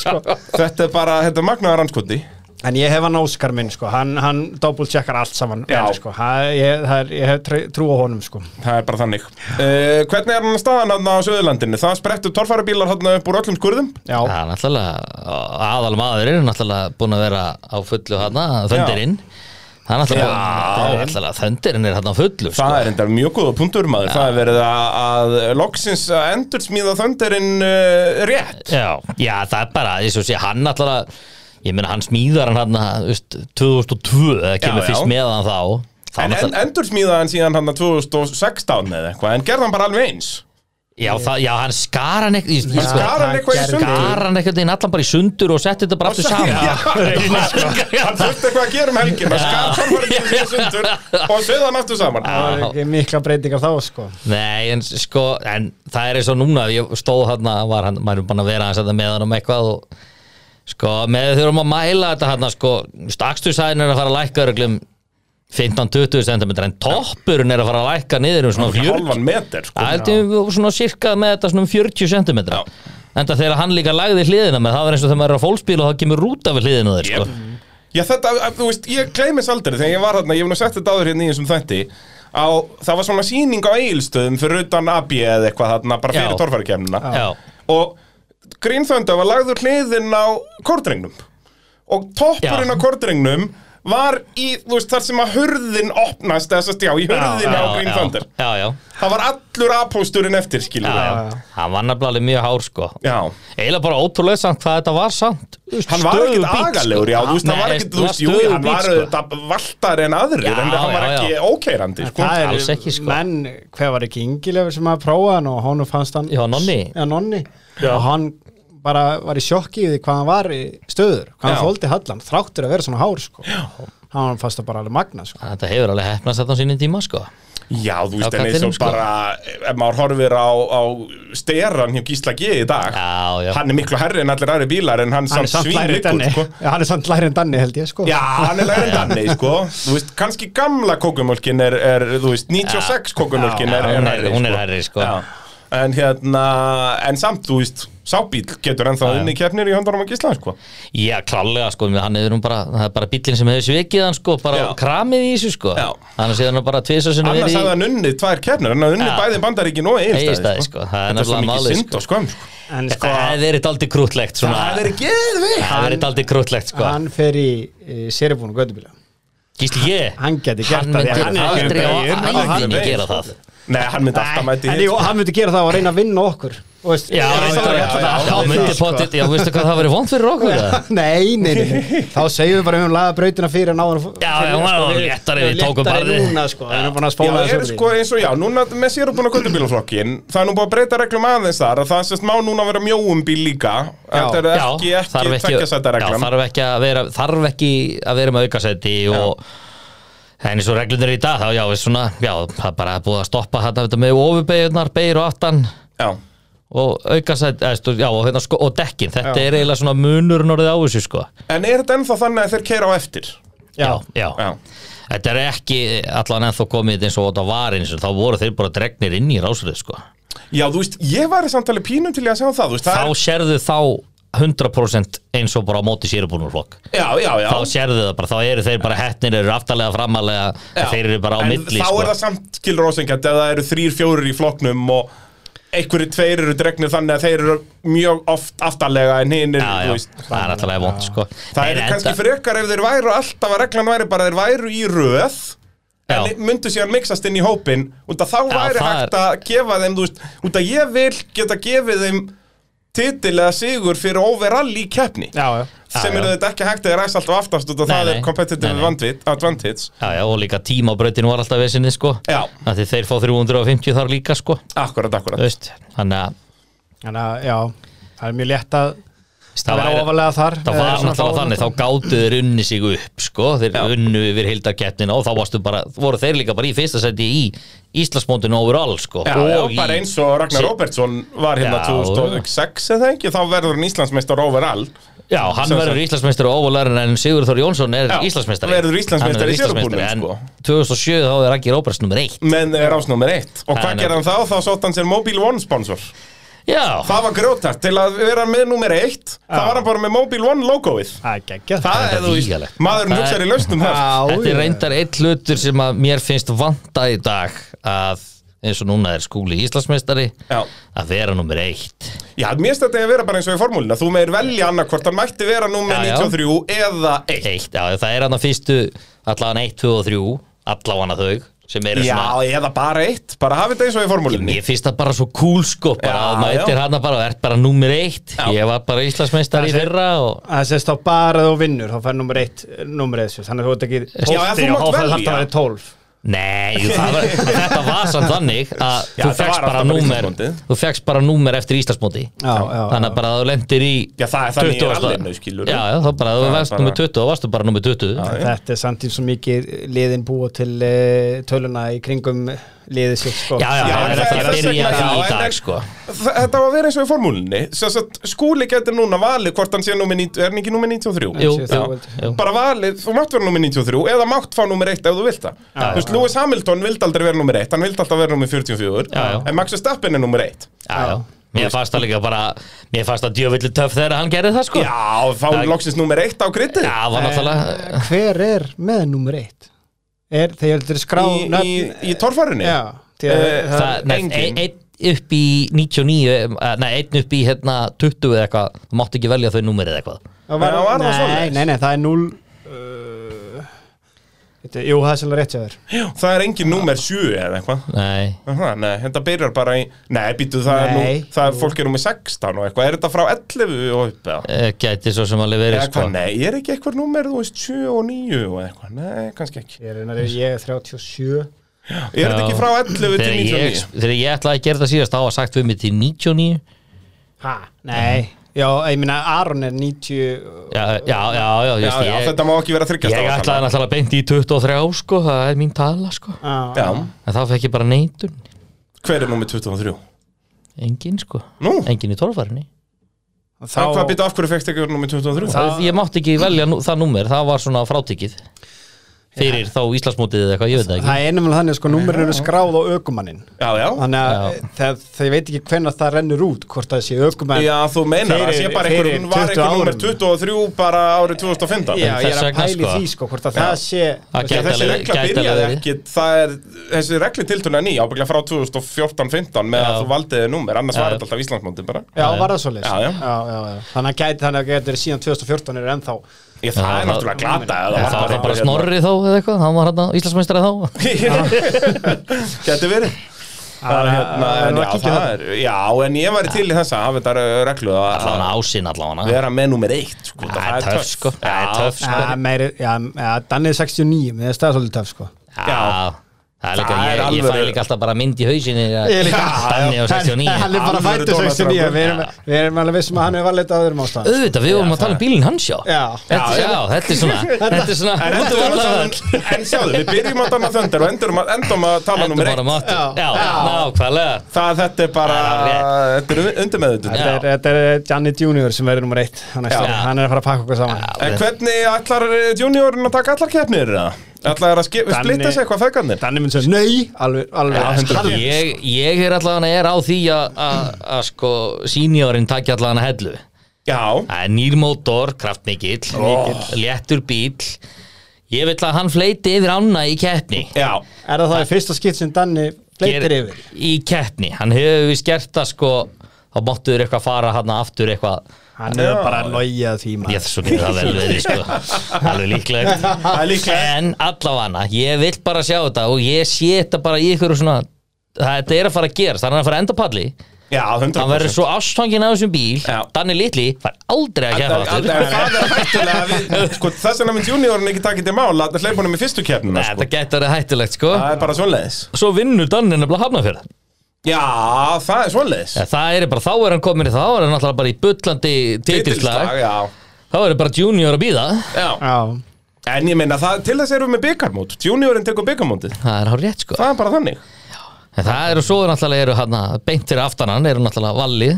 sko. þetta er bara, þetta er magnaðar anskoti En ég hef hann Óskar minn, sko. hann, hann double-checkar allt saman Já. vel, sko. það, ég, það er, ég hef tr- trú á honum sko. Það er bara þannig uh, Hvernig er hann staðan hann á Söðurlandinu? Það sprettu torfærubílar hann upp úr öllum skurðum Já, Það er náttúrulega aðal maðurinn er náttúrulega búin að vera á fullu hann Þöndirinn Það er náttúrulega, það er náttúrulega Þöndirinn er hann á fullu sko. Það er enda mjög góða punktur maður Það er verið að, að loksins að endur smíða þöndirinn uh, rétt Já, já, það er bara, eins og sé, hann náttúrulega Ég meina, hann smíðar hann hann 2002, það kemur Já, já. fyrst með hann þá Það er En, en náttúrulega- endur smíða hann síðan hann 2016 eða eitthvað En gerði hann bara alveg eins Já, það, já hann skar hann ekkert Hann skar hann eitthvað í Gerði. sundur skar hann ekkert inn allan bara í sundur og setti þetta bara aftur Já, saman reyna, sko. Hann þurfti eitthvað að gera um helgina Skar hann var ekki í sundur Og sögða hann aftur saman það var ekki mikla breytingar þá sko Nei, en sko, en það er eins og núna ég stóð hann var hann, maður er bara að vera hans með hann um eitthvað og sko, með þurfum að mæla þetta hann sko, stakstursæðin er að fara að lækka um örglum 15-20 cm en toppurinn er að fara að lækka niður um svona 40 Halvan meter sko. Það er þetta svona cirka með þetta svona um 40 cm Enda þegar hann líka lagði hliðina með það var eins og þegar maður er á fólksbíl og það kemur rúta við hliðina á þér sko. Já þetta, að- þú veist, ég gleymis aldrei Þegar ég var þarna, ég hef nú sett þetta áður hérna í þessum þætti á, Það var svona sýning á eigilstöðum Fyrir utan AB eða eitthvað þarna Bara fyrir Já. torfærikemnina Já. Og Green Thunder var lagður hliðin á kordrengnum Og toppurinn Já. á kordrengnum Var í, þú veist, þar sem að hurðin opnast Þess að stjá, í hurðin á Green Thunder Já, já, Það var allur apósturinn eftir, já, skilur já. Hann var nefnilega alveg mjög hár sko Já, Eiginlega bara ótrúlega samt hvað þetta var samt hann var ekkert agalegur, sko. já, þú veist, hann var ekkert, þú veist, jú, hann var auðvitað auðvitað valtar en aðrir, sko. Já, en hann var já, já. ekki ókeirandi, sko. það alls er, ekki, sko. menn, hver var ekki yngilegur sem að prófa hann og honum fannst hann Já, Nonni. já, nonni. og hann bara var í sjokki við hvað hann var í stöður hvað Já. hann fóldi hallan, þráttur að vera svona hár sko. hann fannst það bara alveg magna sko. Þetta hefur alveg hefnast þetta á sínum tíma sko Já, þú veist, Já, en eins kallinum, og sko. bara, ef maður horfir á, á steran hjá Gísla G í dag, Já, já hann er miklu herri en allir aðri bílar, en hann, hann er samt læri svínliggur, en danni sko. já, hann er samt læri en danni held ég sko. Já, hann er læri en danni, sko. Þú veist, kannski gamla kókumölkin er, er, þú veist, 96 kókumölkin Já, er, hún er er- herri, hún er hærri, sko. Já. En hérna, en samt, þú veist, sábíl getur ennþá já. unni keppnir í handarum á Gísla, sko. Já, klálega sko, menn hann er nú bara, það er bara bíllinn sem hefur svikið hann sko, bara Já. kramið í þessu sko Já. Annars hefur hann bara tvisa sinni Annars verið hefði í hann unnið tvær keppnir En hann unnið Ja. bæði bandaríkin og Egilsstaði, eigilstaði sko. Það er Þetta er svo nefnilega mikið málið, synd sko. og skömm sko. en Þetta sko, hefði verið aldrei krútlegt svona Það er geðveikt Það er aldrei krútlegt sko hann fer í, í séribúnu gödubíla Gísli ég hann geti gert Hann það því að myndi hann er aldrei ekki- á beygir, hann er ekki æðinni beygir. gera það Nei, hann myndi alltaf mæti sko. en jú, hann myndi gera það og reyna að vinna okkur og veist, Já, reyna að reyndar, vinna já, já, alla daga. já, þá myndi Sko. potið, já, veistu hvað það verið vond fyrir okkur eða? nei, nei, nei, nei. þá segjum við bara um laga brautina fyrir sko, en áður Já, já, hún var léttari, við tókum barðið. núna, sko, við erum búin að Já, spóla er sko eins og já, núna með sér uppbúin á göttubílaflokkin Það er nú búið að breyta reglum aðeins þar að Það sérst má núna vera mjóum bíl líka Þetta er ekki, Já, þarf ekki tvekkjasæta já, reglum þarf ekki að vera þarf ekki að vera með aukasæti og en eins og reglunir í dag þá já, við svona, já, það er bara búið að stoppa þetta þetta með ofurbeigurnar, beigir og aftan Já, og aukasæti, eða, stu, já, og, hérna, sko, og dekkin þetta er eiginlega svona munurinn orðið á þessu sko. en er þetta ennþá þannig að þeir keira á eftir? já, já, Já, þetta er ekki allan ennþá komið eins og þetta var eins og þá voru þeir bara dregnir inn í rásurðu sko. já þú veist, ég var í samtali pínum til ég að sjá það, þú veist, það þá sérðu þá 100% eins og bara á móti sérubúnurflokk er, Já, já, já þá sérðu það bara, þá eru þeir bara hettnir eru aftarlega framalega, Já. þeir eru bara á en milli þá sko. er það samt skilur ósengjant ef það eru þrýr, fjórir í flokknum og einhverju tveir eru dregnir þannig að þeir eru mjög oft aftarlega en hinn er, já, já, þú veist það er náttúrulega vond sko. það En eru kannski enda- frekar ef þeir væru alltaf að reglan væri bara að þeir væru í röð Já. en myndu síðan mixast inn í hópin út að þá Já, væri það hægt að gefa þeim þú veist, út að ég vil geta gefið þeim titil eða sigur fyrir overall í keppni já, já, sem já. eru þetta ekki hægt að þeir ræst alltaf aftast út að Nei, það nei. er competitive Nei, nei. advantage- advantage já, já, og líka tíma á brautinu var alltaf vesinni sko. Já. Af því þeir fá 350 þar líka sko. akkurat, Þú akkurat veist, þannig að Þannig að, já, það er mjög létt að það það er væri- ofalega þar Það eða Eh, var svona náttúrulega þá- þannig, þá gátu þeir unni sig upp sko, þeir unnu yfir heildarkeppnina og þá varstu bara, voru þeir líka bara í fyrsta seti í Íslandsmóndinu overall sko Já, og já, í- bara eins og Ragnar Sí- Robertsson var hérna Já, 2006 eða ekki, þá verður hann Íslandsmeistar overall Já, hann Sem verður sagt. Íslandsmeistar og óvölarinn en Sigur Þór Jónsson er Já, Íslandsmeistari verður Íslandsmeistari Hann verður í sérubúningnum, Íslandsmeistari, sko. En 2007 þá er Raggi Róberts nummer 1 menn er ásnúmer eitt og Það er hvað gerði hann þá? Þá sótt hann sér Mobile One sponsor Já, það var grjótart til að vera með nummer eitt það var hann bara með Mobile One logoið það er geggjað það er er, þú veist, ríkalegt. maðurinn Það er- hugsar í lausnum þar Já, þetta er já. reyndar eitt hlutur sem að mér finnst vanta í dag að eins og núna er skúli Íslandsmeistari Já. að vera nummer 1 já, mér finnst þetta að vera bara eins og í formúlina þú meir velja annarkvort, hann mætti vera nummer Já, já. 93 eða 1 eitt, já, það er hann að fyrstu allan 1, 2 og 3, allan að þau sem eru já, svona eða bara 1, bara hafi þetta eins og í formúlinni Ég finnst það bara svo cool sko bara Já, að mætir já. hana bara og ert bara númer eitt Já. ég var bara Íslandsmeistar Það í sé- fyrra og það sést þá bara þú vinnur, þá fær nummer eitt nummer eitt, þannig að þú ert ekki þú mátt og það velja. þarf að vera tólf Nei, jú, það var, þetta var samt þannig að Já, þú þetta fegst var bara alltaf bara númer Íslandsmótið. þú fegst bara númer eftir Íslandsmóti Já, já, þannig já. að bara að þú lendir í Já, það er þannig í 20. rallinu, skilurðu. Já, já, þá bara að þú Það er varst bara- bara... númer 20 þá varstu bara númer 20 Já, já. Þetta er samtíð svo mikið liðin búa til uh, töluna í kringum liðið sér sko. Já, já, Já, það er það ekki er að þess byrja vegna, því já, í en- dag, en- sko Þa- Þetta var að vera eins og í formúlinni Sess að skúli getur núna valið hvort hann sé númer 90, er hann ekki númer 93? Jú, Séu já, þrjú völd. jú. Bara valið, þú mátt vera númer 93 eða mátt fá númer 1 ef þú vilt það Þú veist, Lewis Hamilton vildi aldrei vera númer 1 hann vildi alltaf vera númer 44 Já, já. en Max Verstappen er númer 1 já, já. Mér fannst það líka bara Mér fannst það djöfullu töff þegar hann gerði það, sko Já, fá Það- loksins númer 1 á grittið Já, var náttúrulega En Hver er með nummer eitt? Er þegar þetta er skrá í, í, í torfærunni Já, því að Eh, það, það- nei, engin. ein- Einn upp í 99 eh, Nei, einn upp í hérna 20 eða eitthvað Þú mátt ekki velja þau númer eða eitthvað það Já, var það nei, svoleiðis? nei, nei, það er 0 uh, þetta, Jú, það er sérlega rétt hjá þér Það er engin númer 7 eða eitthvað Nei Aha, nei, þetta byrjar bara í Nei, býtu, það er Nei. nú það er fólk er númer 16 og eitthvað Er þetta frá 11 og upp eða? Eh, Gæti svo sem alveg verið, Eða sko hvað, nei, er ekki eitthvað númer, þú veist, 7 og 9 og eitthvað, nei, kannski ekki Ég er, reyndar- ég er 37 Er þetta ekki frá 11 til Þegar ég, 99? þegar ég ætlaði að gera það síðast þá var sagt við mig til 99 Ha, nei Já, ég meina Aron er 90 Já, já, já, já, Já, just, já, ég, þetta má ekki vera ég þryggjast ætlaði náttúrulega beint í 23 sko, það er mín tala sko Já, Já, en þá fekk ég bara neitun, hver er númer 23? engin sko Nú, engin í torfarinni þá hvað býtu af hverju fekst ekki númer 23? Það- ég mátti ekki velja nú, það númer, það var svona frátikið fyrir þá Íslandsmótið eða eitthvað, ég veit það ekki Það er nefnilega þannig að sko, númerin eru skráð á ökumanninn Já, já, Þannig að þegar þegar ég veit ekki hvenær það rennur út hvort það sé ökumann já, þú meinar, það sé Fyrir- bara fyrir einhver, var 20 einhver númer árum. 23 bara árið 2015 Já, ég þess er að vegna, pæli sko. því sko hvort að það sé Það Já, gæti þessi alveg- regla gæti byrjaði alveg verið. ekki, það er, þessi regli tiltunna ný, ábygglega frá 2014-15 með Já. að þú valdiði númer, annars Já, var já. þetta alltaf Íslandsmóndin bara. Já, var það svoleiðis Já, já. já, já. Þannig að gæti þannig að gæti verið síðan 2014 eru ennþá Ég, það er Já, það- náttúrulega glata, eða En var það var bara það bara einhver hérna. snorri þá eða eitthvað, hann var hérna Íslandsmeistari þá Gæti verið Það er hérna, að- en að- já, að- það er, já, en ég væri til í þessa að hafa þetta er reglu að allan að ásinn allan vera með nummer eitt sko, það er töff sko það er töff sko Já, meiri, já, já, Dannið 69, mér er staðsólið töf sko Já, það er líka, Það er ég, ég fæ alvöru. líka alltaf bara mynd í hausinni Danni á Hann 69 er bara Alvöru fættu 69 dólarstrákur. Við erum, við erum alveg vissum að hann er valið á öðrum ástæðan Auðvitað, við vorum að tala um bílinn hans já Já. Þetta, já, þetta er svona Þetta er En, svona Þetta þetta er var svona það- um- en sjáðu, við byrjum að danna þöndir og endurum að, endum að tala nummer eitt Já, já, nákvæmlega Það þetta er bara, Það er þetta er undir meðutund Þetta er- Þetta er Johnny Junior sem verður nummer eitt á næsta Já. ári. Hann er að fara að pakka okkur saman En hvernig ætlar juniorin að taka allar keppnir? eða? Ætlar að ske- Danni- splitta sig eitthvað fegarnir? Danni minn sem Nei, alveg, alveg harður. Ég, ég er allavega er á því að að- að sko seniorinn takja allavega hellu Já, Það er nýr mótor, kraftmikill léttur bíl Ég vil að hann fleiti yfir ána í keppni já Er það það í fyrsta skipt sem Danni fleitir Ger- yfir? í keppni, hann hefur við skert það sko þá máttu þurr eitthvað fara hann aftur eitthvað Hann er Já. bara að logja því maður ég þessu getur það vel verið sko alveg Það er líklegt líklegt. en allavega ég vill bara sjá þetta og ég sé þetta bara í ykkur svona þetta er að fara að gerast, hann er að fara að enda á palli Já, 100% hann verður svo ástfangin af þessum bíl Já. Danni Litli fær aldrei að keppa Það aftur er hættulega við- sko, Þess vegna mynd juniorin ekki takit í mála að hleypa honum í fyrstu keppnina Nei, sko. þetta getur verið hættulegt sko Það er bara svoleiðis svo vinnur Danni nefnilega hafna fyrir Já, það er svoleiðis það er bara, þá er hann komin í það þá er hann náttúrulega bara í bullandi titilslag já þá er bara junior að býða Já, Já, en ég meina það, til þess erum við með byggarmót Juniorin tekur byggarmótið það er hár rétt sko Það er bara þannig En það eru svo náttúrulega eru hana, beint fyrir aftanan eru náttúrulega vallið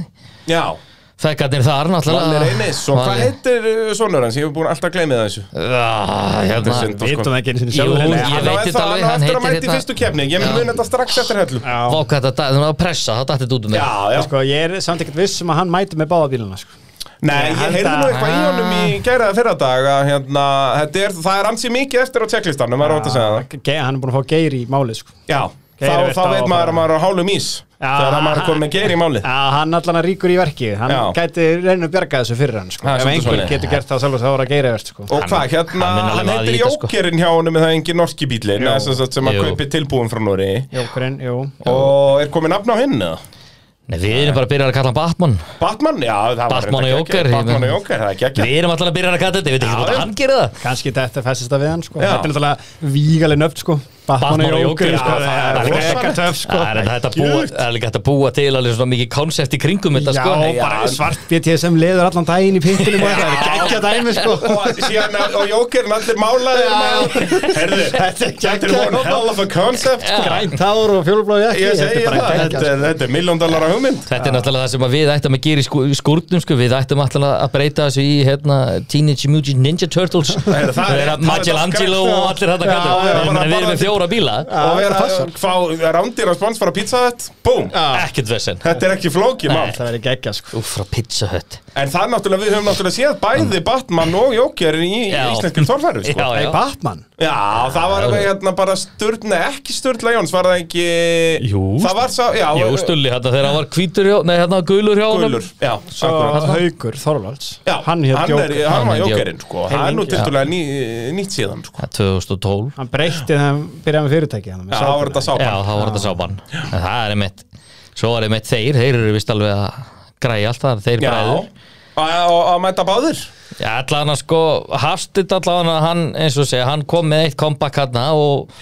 Já, Fækarnir þar náttúrulega hann er einis Og hvað heitir uh, sonur hans? Ég hef búin alltaf að gleymi það þessu Þetta Ah, er hérna, synd, vitum sko. það ekki einu sinni Jú, sjálfur ég Hann á veit þetta eftir- alveg, hann á hann eftir að heitir mæta í hérna- fyrstu keppni Ég Já. mun þetta strax eftir hellu Já, Já, Váka þetta, það var pressa, það dætti þetta út um mig já sko, ég er samt ekkert viss um að hann mæti með báða bíluna sko. Nei, ég Ég held heyrði nú að- eitthvað í honum í gæraða fyrra dag að hérna, þetta er, það er ansi mikið eftir á checklistanum, maður átt að segja það Ge- Hann er búin að fá geir í máli sko. Já, Geir þá, er þá veit veit á- maður að maður er á hálum ís Já. þegar að maður er komin með geir í málið Já, hann allan að ríkur í verki Hann Já. gæti reyna að bjarga þessu fyrir hann sko. Það er Ef svolítið einhver svoleiðis. getur gert það sjálfur þá er að geira verð sko. Og hvað, hérna, hann mun alveg hann vaða í heitir þetta, sko. Jókerinn hjá honum en það er engin norski bílin eða sem, sagt sem að Jú. kaupi tilbúin frá Nóri Jókurinn, jú og er komið nafn á hinn eða? Nei, við erum bara að byrja að kalla hann Batman Batman, já, það var Batman reyndar og geggjað. Joker, ég Batman og meina. Jóker, það er gekkja Við erum alltaf að byrja að kalla þetta, ég veit ekki hvort já. hann gerir það Kanski þetta festist það við hann sko. Já. Þetta er náttúrulega vígaleg nöfn sko. Batman og Joker, Joker, sko, það já, er frekar það er rosalegt. töff, sko. Það er þetta að búa- Djöfull. það er líka hægt að búa til alveg svona mikið konsept í kringum þetta sko Já, bara svart BTSM leður allan daginn í pittinum og þetta er geggja dæmi sko og síðan og jókerinn allir málaðir með herðu, Þetta er þetta er geggjað. one hell of a concept sko. Grænt hár og fjólblá jakki ég segi þetta er það, bara þetta geggjað er- þetta er milljón dollara hugmynd Þetta er náttúrulega það sem að við ættum að gera í skú- í skúrnum sko. Við ættum alltaf að breyta þessu í hérna, Teenage Mutant Ninja Turtles er- það er- það er- Magellangelo það er- og allir þetta Já, já, kallar Ég bara- meina, Við erum bara- með fjóra bíla og það er vera passar. fá rándir respons frá pizza þetta, búm Ekkert vesen þetta er ekki flókið mál Það sko. verður geggja sko Úf, frá Pizza Hut en það er náttúrulega, við höfum náttúrulega séð bæði Batman og Joker í í Já. íslenskum torfæru sko. Já, Nei, já Batman Já, það var alveg hérna bara Sturla, ekki Sturla Jóns, var það ekki Jú. Það var sá, já Jú, stulli hérna þegar hann var hvítur hjá, nei hérna gulur hjá honum. Gullur, já, Svo akkurat. Haugur Þorvalds já, Hann hér hann, er, Joker hann var Hann er jókerinn, sko Það er nú Helmingi, tildulega ný, nýtt síðan, sko Það er 2012 Hann breytti þegar hann byrjaði með fyrirtæki hann Já, það var þetta Já, sápan það var þetta sábann En það er einmitt Svo var einmitt þeir, þeir eru vist alveg að græja allt það Þeir Já, bræður og og að mæta báðir Já, allan að sko, Hafstedt allan að hann, eins og segja, hann kom með eitt kompakk hann og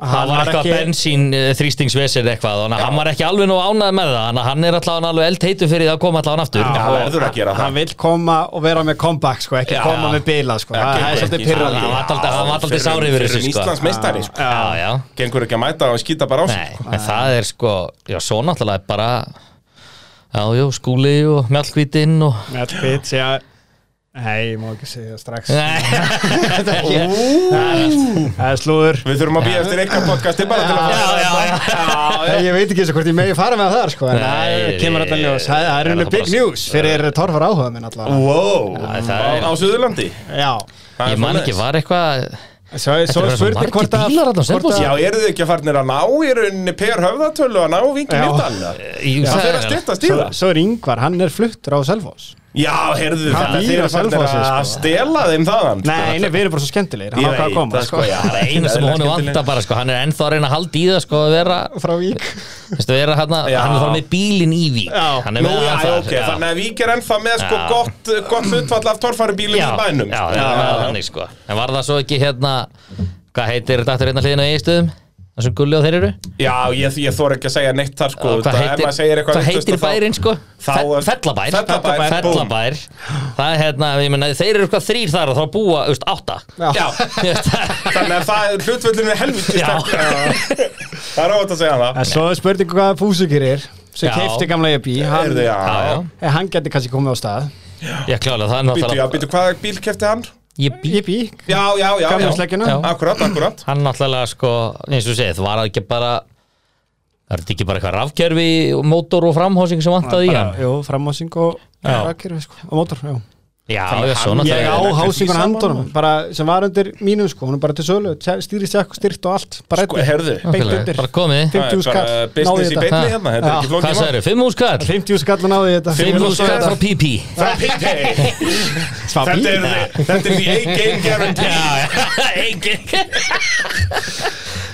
það var eitthvað ekki- bensín eh, þrýstingsvesen eitthvað, þannig að hann var ekki alveg nú ánað með það, þannig að hann er allan alveg eldheitu fyrir það að koma allan aftur. Já, Og- verður að gera Hann það vill koma og vera með comeback sko Ekki Já. koma með bila sko Já, Það er gengur svolítið ekki, sko. pyrrandi Hann var daldið- hann var daldið sár yfir þessu, Fyrir sko. Íslands meistari, sko Já, já. Gengur ekki að mæta og skýta bara á sig Nei, en það er sko, já, svo náttúrulega er bara, já, jú, skúli og mjallkvítinn og... Matt Pitts, já Nei, ég má ekki segja það strax Nei, Þetta er ekki- Það er slúður Við þurfum að býja eftir eitthvað podcasti bara til að já, já, já. Ég ég veit ekki eins og hvort ég megi fara með það sko En það Nei, kemur alltaf ljós Það það er það er unni bara- big news fyrir torfar áhuga minn allavega Wow, Já, það á er- á Suðurlandi Já Það er Ég man svoleiðis. ekki, var eitthvað Svo svo Þetta er eru svo spurning margir hvort að bílar þarna á hvort Selfossi. Já, að- eru þið ekki að farnir að ná í rauninni Per höfðatölu að ná Vingi Já. Myrdal? Jú, Það það fer að er- styttast í Svo- það. Svo er Ingvar, hann er fluttur á Selfoss Já, heyrðu Hann þetta, býr þeir á eru farnir Selfossi, að sko. stela þeim þaðan. sko. Nei, nei, við erum bara svo skemmtilegir Hann Ég ákvað veit að koma það, sko. já, Það er eina sem það honum skemmtilegt. vantar bara sko, hann er ennþá að reyna að halda í það sko að vera, Frá Vík veistu, vera hann, Já. hann er þá með bílinn í Vík Já. hann er Nú, með sko. já, hann já, þar, ok, þannig að Vík er ennþá með sko Já. gott, gott hlutfall af torfærubílum já, í bænum. já, sko. já, já, þannig sko en var það svo ekki hérna hvað heitir þetta aftur hérna hliðin á eiginstöðum það sem gulli og þeir eru já, ég, ég þor ekki að segja neitt þar sko, Og hvað það, ef maður segir heitir, eitthvað hvað vitlaust heitir þá- bærin sko þá Fe- er- fellabær Fellabær, búm. fellabær það er hérna ég menna þeir eru hvað þrýr þar og þá búa þú veist, átta Já, þannig að það er hlutföllinu helviti Já. sterk. Já. Það er óvægt að segja það. En svo er spurning hvað Fúsugir er sem Já. keifti gamla ég bý Hann, Heyrðu, já. já, eh, hann geti kannski komið á stað já ég klálega það er Býtu, já, náttúrulega býtu, hvaða bíl kefti hann? ég bý Ég bý, Já, já, já. já. E gamla sleggjuna Já. Akkurat, akkurat. hann náttúrulega sko eins og segið var það ekki bara var þetta ekki bara eitthvað rafkerfi mótor og framhásing sem vantaði í hann Jú, framásing og Já. rakir sko, og mótor já. já, Þannig já, svo hann- Ég er á náttúrulega ekki hásingun saman, handunum bara, sem var undir mínum sko, hún er bara til sölu stýrist jakk og styrt og allt bara Sko, einnig. heyrðu. beint Nákvæmlega, undir. bara komið Það er 50 skall, bara náðu business í þetta beinni Ha. hérna, þetta er ekki hvað flókið mál. sagður, 5 úrskall 50 skall og náði þetta 5 úrskall frá PP Það er pípi. Smá bíl. Þetta er, þetta er the A-game guarantee. engin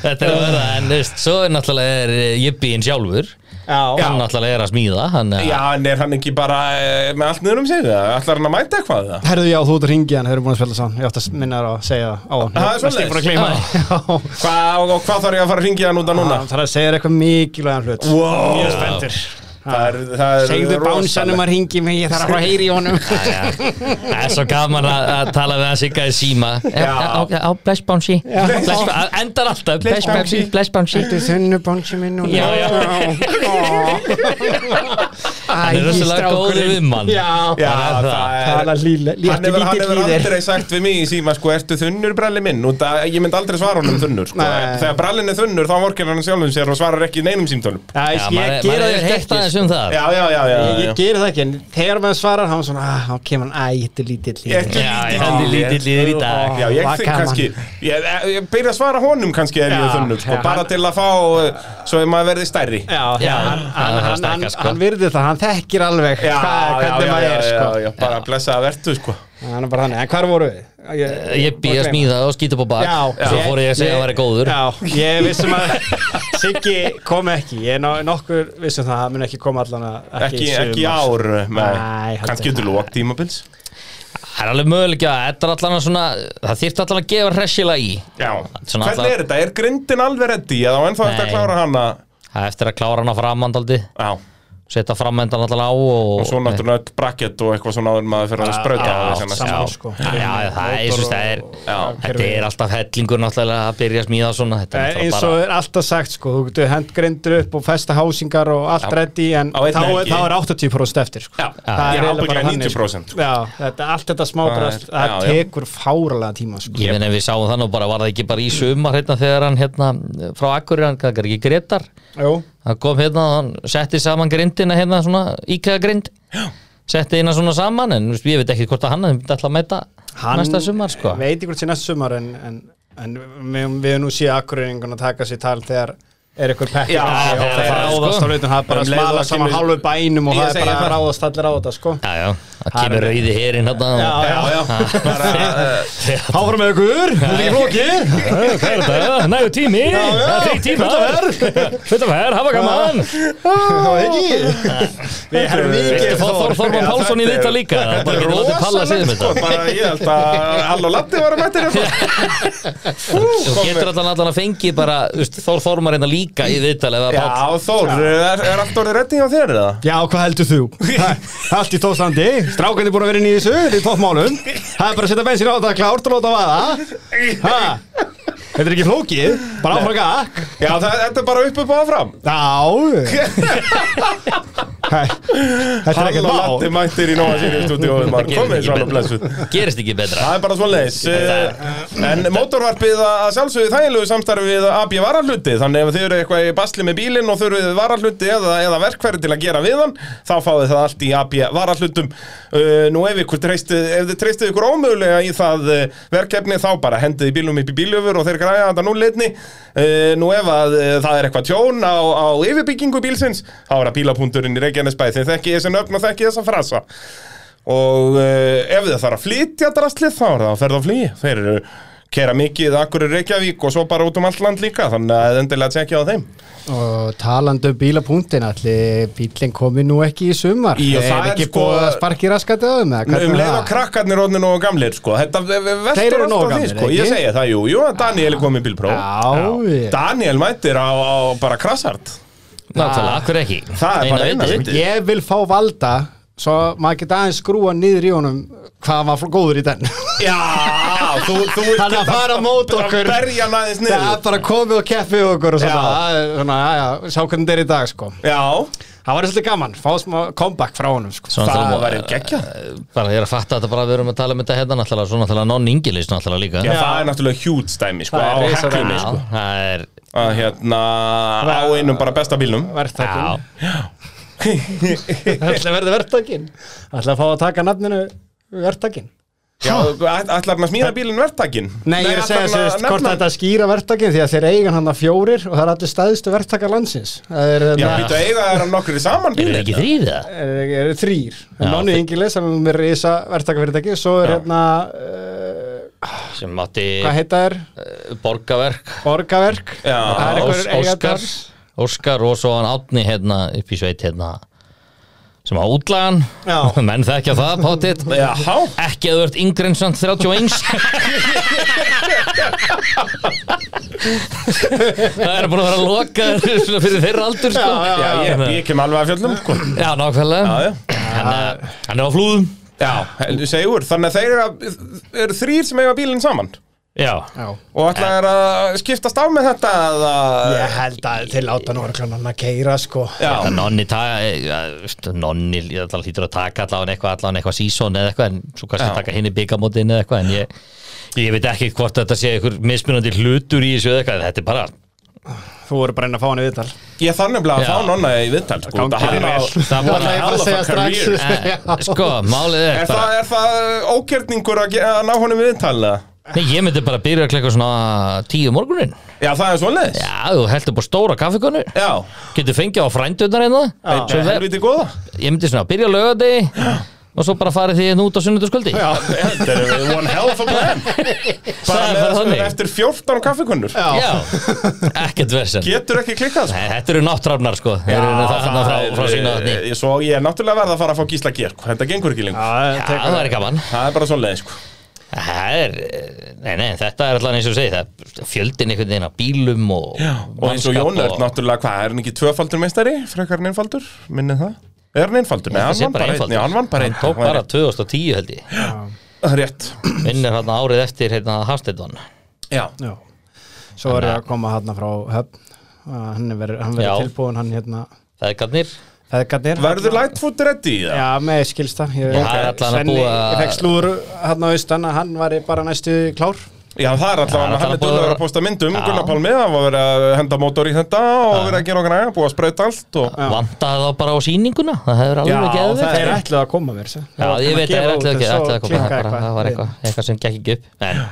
þetta er að vera en þú veist, svo er náttúrulega er jippiðin sjálfur Já, hann náttúrulega er að smíða hann eh, er- Já, en er hann ekki bara eh, með allt niður um sig það? Ætlar hann að mæta eitthvað það? Herðu, já, þú ert að ringja hann, þau eru búin að spila saman Ég átti að minna þér á að segja það á hann Það er svoleiðis. Ég er búin að gleyma það Já. Hva, og, og hvað þarf ég að fara að ringja hann út af núna? Það þarf að segja þér eitthvað mikilvægan hlut Wow. Mjög spenntur Það er, það er Segðu bánsanum að ringi mig, ég þarf að fara að heyri í honum Já, já. það er svo gaman að, að tala við hann sigga í síma á, á bless bouncy Bless- að- endar alltaf bless bouncy bless bouncy Þetta er þunnu bánsi minn og Já, já. Hann er rosalega góður við mann. Já, Já, Það er það það. er tala líle, Hann léttu hefur, hann lítill hefur í þér aldrei sagt við mig í síma sko, ertu þunnur bralli minn út að ég myndi aldrei svara honum þunnur sko. Nei. þegar brallin er þunnur þá vorkir hann sjálfum sér og svarar ekki neinum símtölum Já, Já, ég- maður Ég maður gera þetta hefur heyrt ekki aðeins um það já, já, já, já, Ég, já. ég gera það ekki, en þegar maður svarar hann svona, ah, þá kemur hann, æ, þetta er lítill í Ertu þér Já, lítill hann í er þér? lítill í þér í dag. Já, ég Var þig gaman. kannski Ég, eh, ég byrja að svara honum kannski er ég Já, þunnur sko, já, bara hann- til að fá uh, svo ef maður verði stærri Já, Já, hann, það hann, er að hann, stækka, hann, sko. hann virði það, hann þekkir alveg Já, hvað, já, hvernig já, maður já, er já, sko. já, bara að blessa að vertu sko Hann er bara þannig, en hvar voru við? Ég, Eh, ég býð að smíða og skýta upp á bak Já, svo fór ég að segja að það væri góður Já, ég vissum að Siggi kom ekki, ég er no- nokkur vissum það, hann mun ekki koma allan að ekki, í sumar. ekki í ár eh, nei. Nei, heldur kannski það. undir lók tímabils það er alveg möguleika þetta er allan að svona, það þýrt allan að gefa hressila í Já, Svona hvernig alltaf- er þetta? Er grindin alveg reddi eða á ennþá eftir að Nei. klára hana? það er eftir að klára hana framandaldi Já, setja framandan allan á og, og svo náttúrulega öll bracket og eitthvað svona áður en maður fyrir að sprauta á því sem allt næst. saman, Já, sko. já, já, það er, ég syns það er Já, þetta er alltaf hellingur náttúrulega að byrja að smíða svona þetta Það er er Eh, eins og náttúrulega er alltaf sagt sko, þú getur hendgrindur upp og festa hásingar og allt reddi en Á þá einni er, helgi. þá er 80% eftir sko. Já, það já, er eiginlega bara ábyggilega þannig, 90%, sko. Já, þetta, allt þetta Það smábrast, er- það já, já. tekur fáralega tíma sko. bara ég meina ef við sáum þannig og bara var það ekki bara í sumar hérna þegar hann hérna frá Akkurir hann gæði ekki Gretar Jú, hann kom hérna og hann setti saman grindina hérna svona íkæða grind setti hérna svona saman en þú veist, ég veit ekki hvort að hann hann myndi alltaf að mæta hann næsta sumar sko veit ekki hvort sé næsta sumar en, en, en við, við nú séu akkurýringun að taka sér tal þegar er eitthvað pekkir Já, og það er það það, ráðast sko. á hlutum, það er bara Um að leið og smala það saman kemur- hálfu bænum og Ég það segi er bara að það. ráðast allir á þetta sko. já, já, það kemur er- rauði herin hérna Já, og- Já, já, bara, eh, Háfram með ykkur, þetta er flókið Hvað er þetta? Nægur tími? Það er þrjú tíma Fullt af herr, hafa gaman Það var ekki Við erum Viltu mikið fá Þór Þorman Já, Pálsson í þetta er- þetta líka? Það er bara ekki látið palla sig um rosalegt sko, þetta bara ég held að Hall og Latti var að mæta þér sko, Þú getur allan allan að fengi bara úst, Þór Þorman reynda líka í viðtal eða Já, Pál Þór, er, er allt orðið reddi hjá þér eða? Já, hvað heldur þú? Það er Allt í tófstandi, strákan er búin að vera inn í þessu, þetta er toppmálum Það er bara að setja bensin á þetta, klárt og láta vaða Ha? Þetta er ekki flókið, bara áfram gakk Já, það, þetta er bara upp upp og áfram Já Hæ, Þetta er Hall ekkert og mál Latti mættir í Nóa Sirius stúdíóið maður Komið þið svona blessuð Gerist ekki betra Það er bara svona leis En mótorvarpið að að sjálfsögðu þægilegu samstarfi við AB varahluti Þannig ef þið eru eitthvað í basli með bílinn og þurfið varahluti eða, eða verkfæri til að gera við hann Þá fáið það allt í AB varahlutum uh, Nú ef, ykkur treystið, ef þið treystið ykkur ómögulega í það uh, verkefni Þá bara hendið bílum upp í bíljöfur og þeir græja þetta núleitni uh, Nú ef að uh, það er eitthvað tjón á, á yfirbyggingu bílsins Þá er það bílapunkturinn í Reykjanesbæð Þeir þekki þessi nöfn og þekki þessa frasa og uh, ef þið þarf að flytja drastlið þá er það að ferða að flýja þeir eru kera mikið akkur í Reykjavík og svo bara út um allt land líka þannig að endilega tjekka á þeim Og talandi um bílapunktin, allir bílinn komi nú ekki í sumar Í, og Er það er ekki sko- búið að sparki raskat eða um um leið og krakkarnir orðin og gamlir sko. þetta v- v- Þeir veltur eru allt nógu á því gamlir, sko. ég ekki? segi það jú, jú að Daniel er komið bílpró Já, Daniel mætir á, á bara krassart Náttúrulega, akkur ekki Það er bara eina vitið. vitið. Ég vil fá valda Svo maður geta aðeins skrúa niður í honum Hvað hann var fl- góður í den já, þú, þú vilt Hann að fara á mót okkur berja næðins Það er niður bara komið og keppi okkur og svona, Já. Það er svona já, já, Sjá hvernig þetta er í dag sko já, Það var svolítið gaman, fá smá comeback frá honum sko Svo náttúrulega- það væri geggjað. Bara ég er að fatta þetta bara við erum að tala um þetta hérna náttúrulega Svo náttúrulega non-ingilis náttúrulega líka já, það er náttúrulega hjút stæmi sko, Það á er risar- heklunni sko. Já, það er að hérna á einum bara besta bílnum Já, Verðtakin Ætla að verða verðtakin Ætla að fá að taka nafninu verðtakin Já, æt- ætlar hann að smíða bílinn um verktakinn? Nei, ég er að segja ætlar hann sérst hvort nefna- þetta skýra verðtakin Því að þeir eigan hann að fjórir og það er allir stæðstu verðtakar landsins Það er, Já, hérna- býtu að eiga þeirra nokkur í saman eru þeir bílinn ekki þrýr það? er, er þrýr Já, Nonni þe- Ingilis sem er með risa verktakafyrirtæki svo er Já. hérna uh, Sem átti hvað heita þær? eh, borgaverk Borgaverk Já. það er Ós- einhver Óskar eigendar Óskar og svo hann átni hérna upp í sveit hérna sem á útlagan Já. menn þekkja það pátitt Já, há ekki að þú ert yngri en samt 31 það er búin að vera að loka svona fyrir þeirra aldur sko. Já, já, Já, ég, ég kem alveg að fjöllum sko. Já, nákvæmlega Já, já. Hann, er- hann er á flúðum Já, heldur segur Þannig að þeir eru, eru þrýr sem eiga bílinn saman já, Já. Og ætlar þeir að skiptast á með þetta eða... ég held að þeir láta nú örglann hann að keira sko Það Já, nonni, ta- eh, ja, veist, nonni ég ætla að hlýtur að taka allavega eitthvað allavega eitthvað sísón eða eitthvað en svo kannski Já. taka hinn í byggamótin eða eitthvað en ég, ég veit ekki hvort þetta sé einhver mismunandi hlutur í þessu eða eitthvað en þetta er bara þú voru bara einn að fá hann í viðtal ég þannig að Já. fá nonna í viðtal sko. Gangi Þetta þér hann á- vel. Það var Ætlaði ég bara að segja strax. career eh, sko, málið er Er bara það, er það ókjörningur að, ge- að ná honum í viðtal eða? nei, ég myndi bara að byrja að klekka svona tíu morgunin Já, það er svoleiðis já, þú heldur bara stóra kaffikonu Já, getur fengið á hérna. frændunar einna Þetta er helviti góða ég myndi svona að byrja lögadi og svo bara farið því hérna út á sunnundaskvöldi Já, þetta er one hell of a plan Bara Það er með bara að þannig. eftir 14 kaffekunnur Já, ekkert versen Nei, Getur ekki klikkað sko. Þetta eru náttráfnar sko Þeir eru það hérna frá, frá Svínavatni eh, Svo ég er náttúrulega verð að fara að fá gísla gér sko. Þetta gengur ekki lengur Já, það er gaman Það er bara svona leið sko. Það er, nei, nei, þetta er alltaf eins og ég segi það er fjöldin einhvern veginn af bílum og Og eins og Jón er náttúrulega hvað Er hann ekki tvöfaldur meistari? Frekar en einfaldur? Minnið það? Er hann einfaldur? Nei, hann hann vann bara einn Já, hann vann bara einn tók bara 2010 held ég Það er rétt vinnur hann árið eftir hérna Hafstedvan Já Já. Svo er ég að koma hérna frá höfn að hann er verið, hann verið Já. tilbúin hann hérna feðgarnir feðgarnir Verður Lightfoot ready í það? Já, með skilsta ég, Já, það er allan að Svenni- búa- Ég fekk slúður hérna á austan að hann var bara næstu klár Já, það er alltaf Já, hann það er Hann er búið að dölur að vera- posta myndum Já. Gunnar Palmi Það var verið að henda mótor í þetta Og verið að gera okkar aðeins Búið að sprauta allt og vantaði þá bara á sýninguna það hefur Já, alveg geðið það er ætlað að koma mér Já, ég veit að það er ætlað að gera ætlað að koma, það, bara, það var eitthvað eitthvað, eitthvað sem gekk ekki upp en,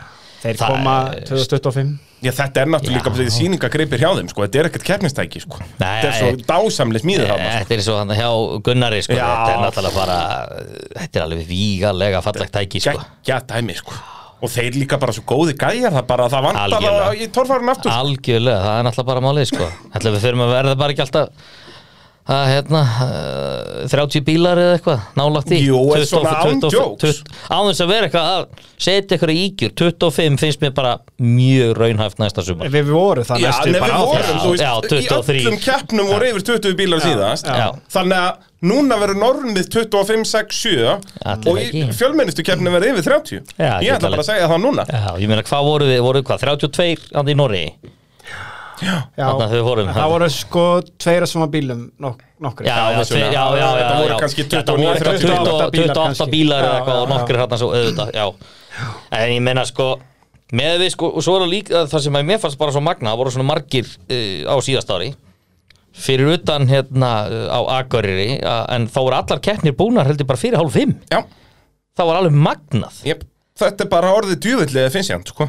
Þeir Það koma er- 2025 Já, þetta er náttúrulega Já. líka þessi sýningagripir hjá þeim, sko. Þetta er ekkert keppnistæki, sko. Nei, þetta er svo nei. dásamlega smíðið þarna, sko. Eh, Þetta er svo hann hjá Gunnari sko, Já. þetta er náttúrulega bara þetta er alveg vígalega fallegt tæki sko. Gækja dæmi, sko. Og þeir líka bara svo góði gæjar, það bara, það vantar Algjörlega. það í torfarinn aftur. Algjörlega, það er náttúrulega bara málið sko. Ætla við fyrir að verða bara ekki alltaf að hérna uh, 30 bílar eða eitthvað nálagt í Jú, en svona án jokes. án þess að vera eitthvað að setja eitthvað í ígjur 25 finnst mér bara mjög raunhæft næsta sumar Við vorum það Já, næstu en við bara á vorum, þessu. Já, þú veist, já, í 23. öllum keppnum voru yfir 20 bílar síðast. já. Þannig að núna verður nornið 25, 6, 7 Allir og í ekki. fjölmennistu keppnum verður yfir 30. Já, Ég ég ætla tala- bara að segja það núna. Já, ég meina hvað voru við, voru hvað, 32 andi í Norri Já. Þarna þau vorum. Það voru sko tveira sama bílum nok nokkri Já, já, vissulega. tveir- já, já, já, Þetta voru já. kannski Þetta voru 29, 28 eitthvað 20 bílar 28 kannski. bílar eða Já, eitthvað já, og já. nokkrir hérna svo auðvitað, já En ég meina sko, með við sko, og svo er það líka það sem að mér fannst bara svo magna, það voru svona margir uh, á síðast ári Fyrir utan hérna uh, á Akureyri, uh, en þá voru allar keppnir búnar heldur bara fyrir hálf fimm Já, Það var alveg magnað jep. Þetta er bara orðið djúvillig eða finnst ég hann, sko.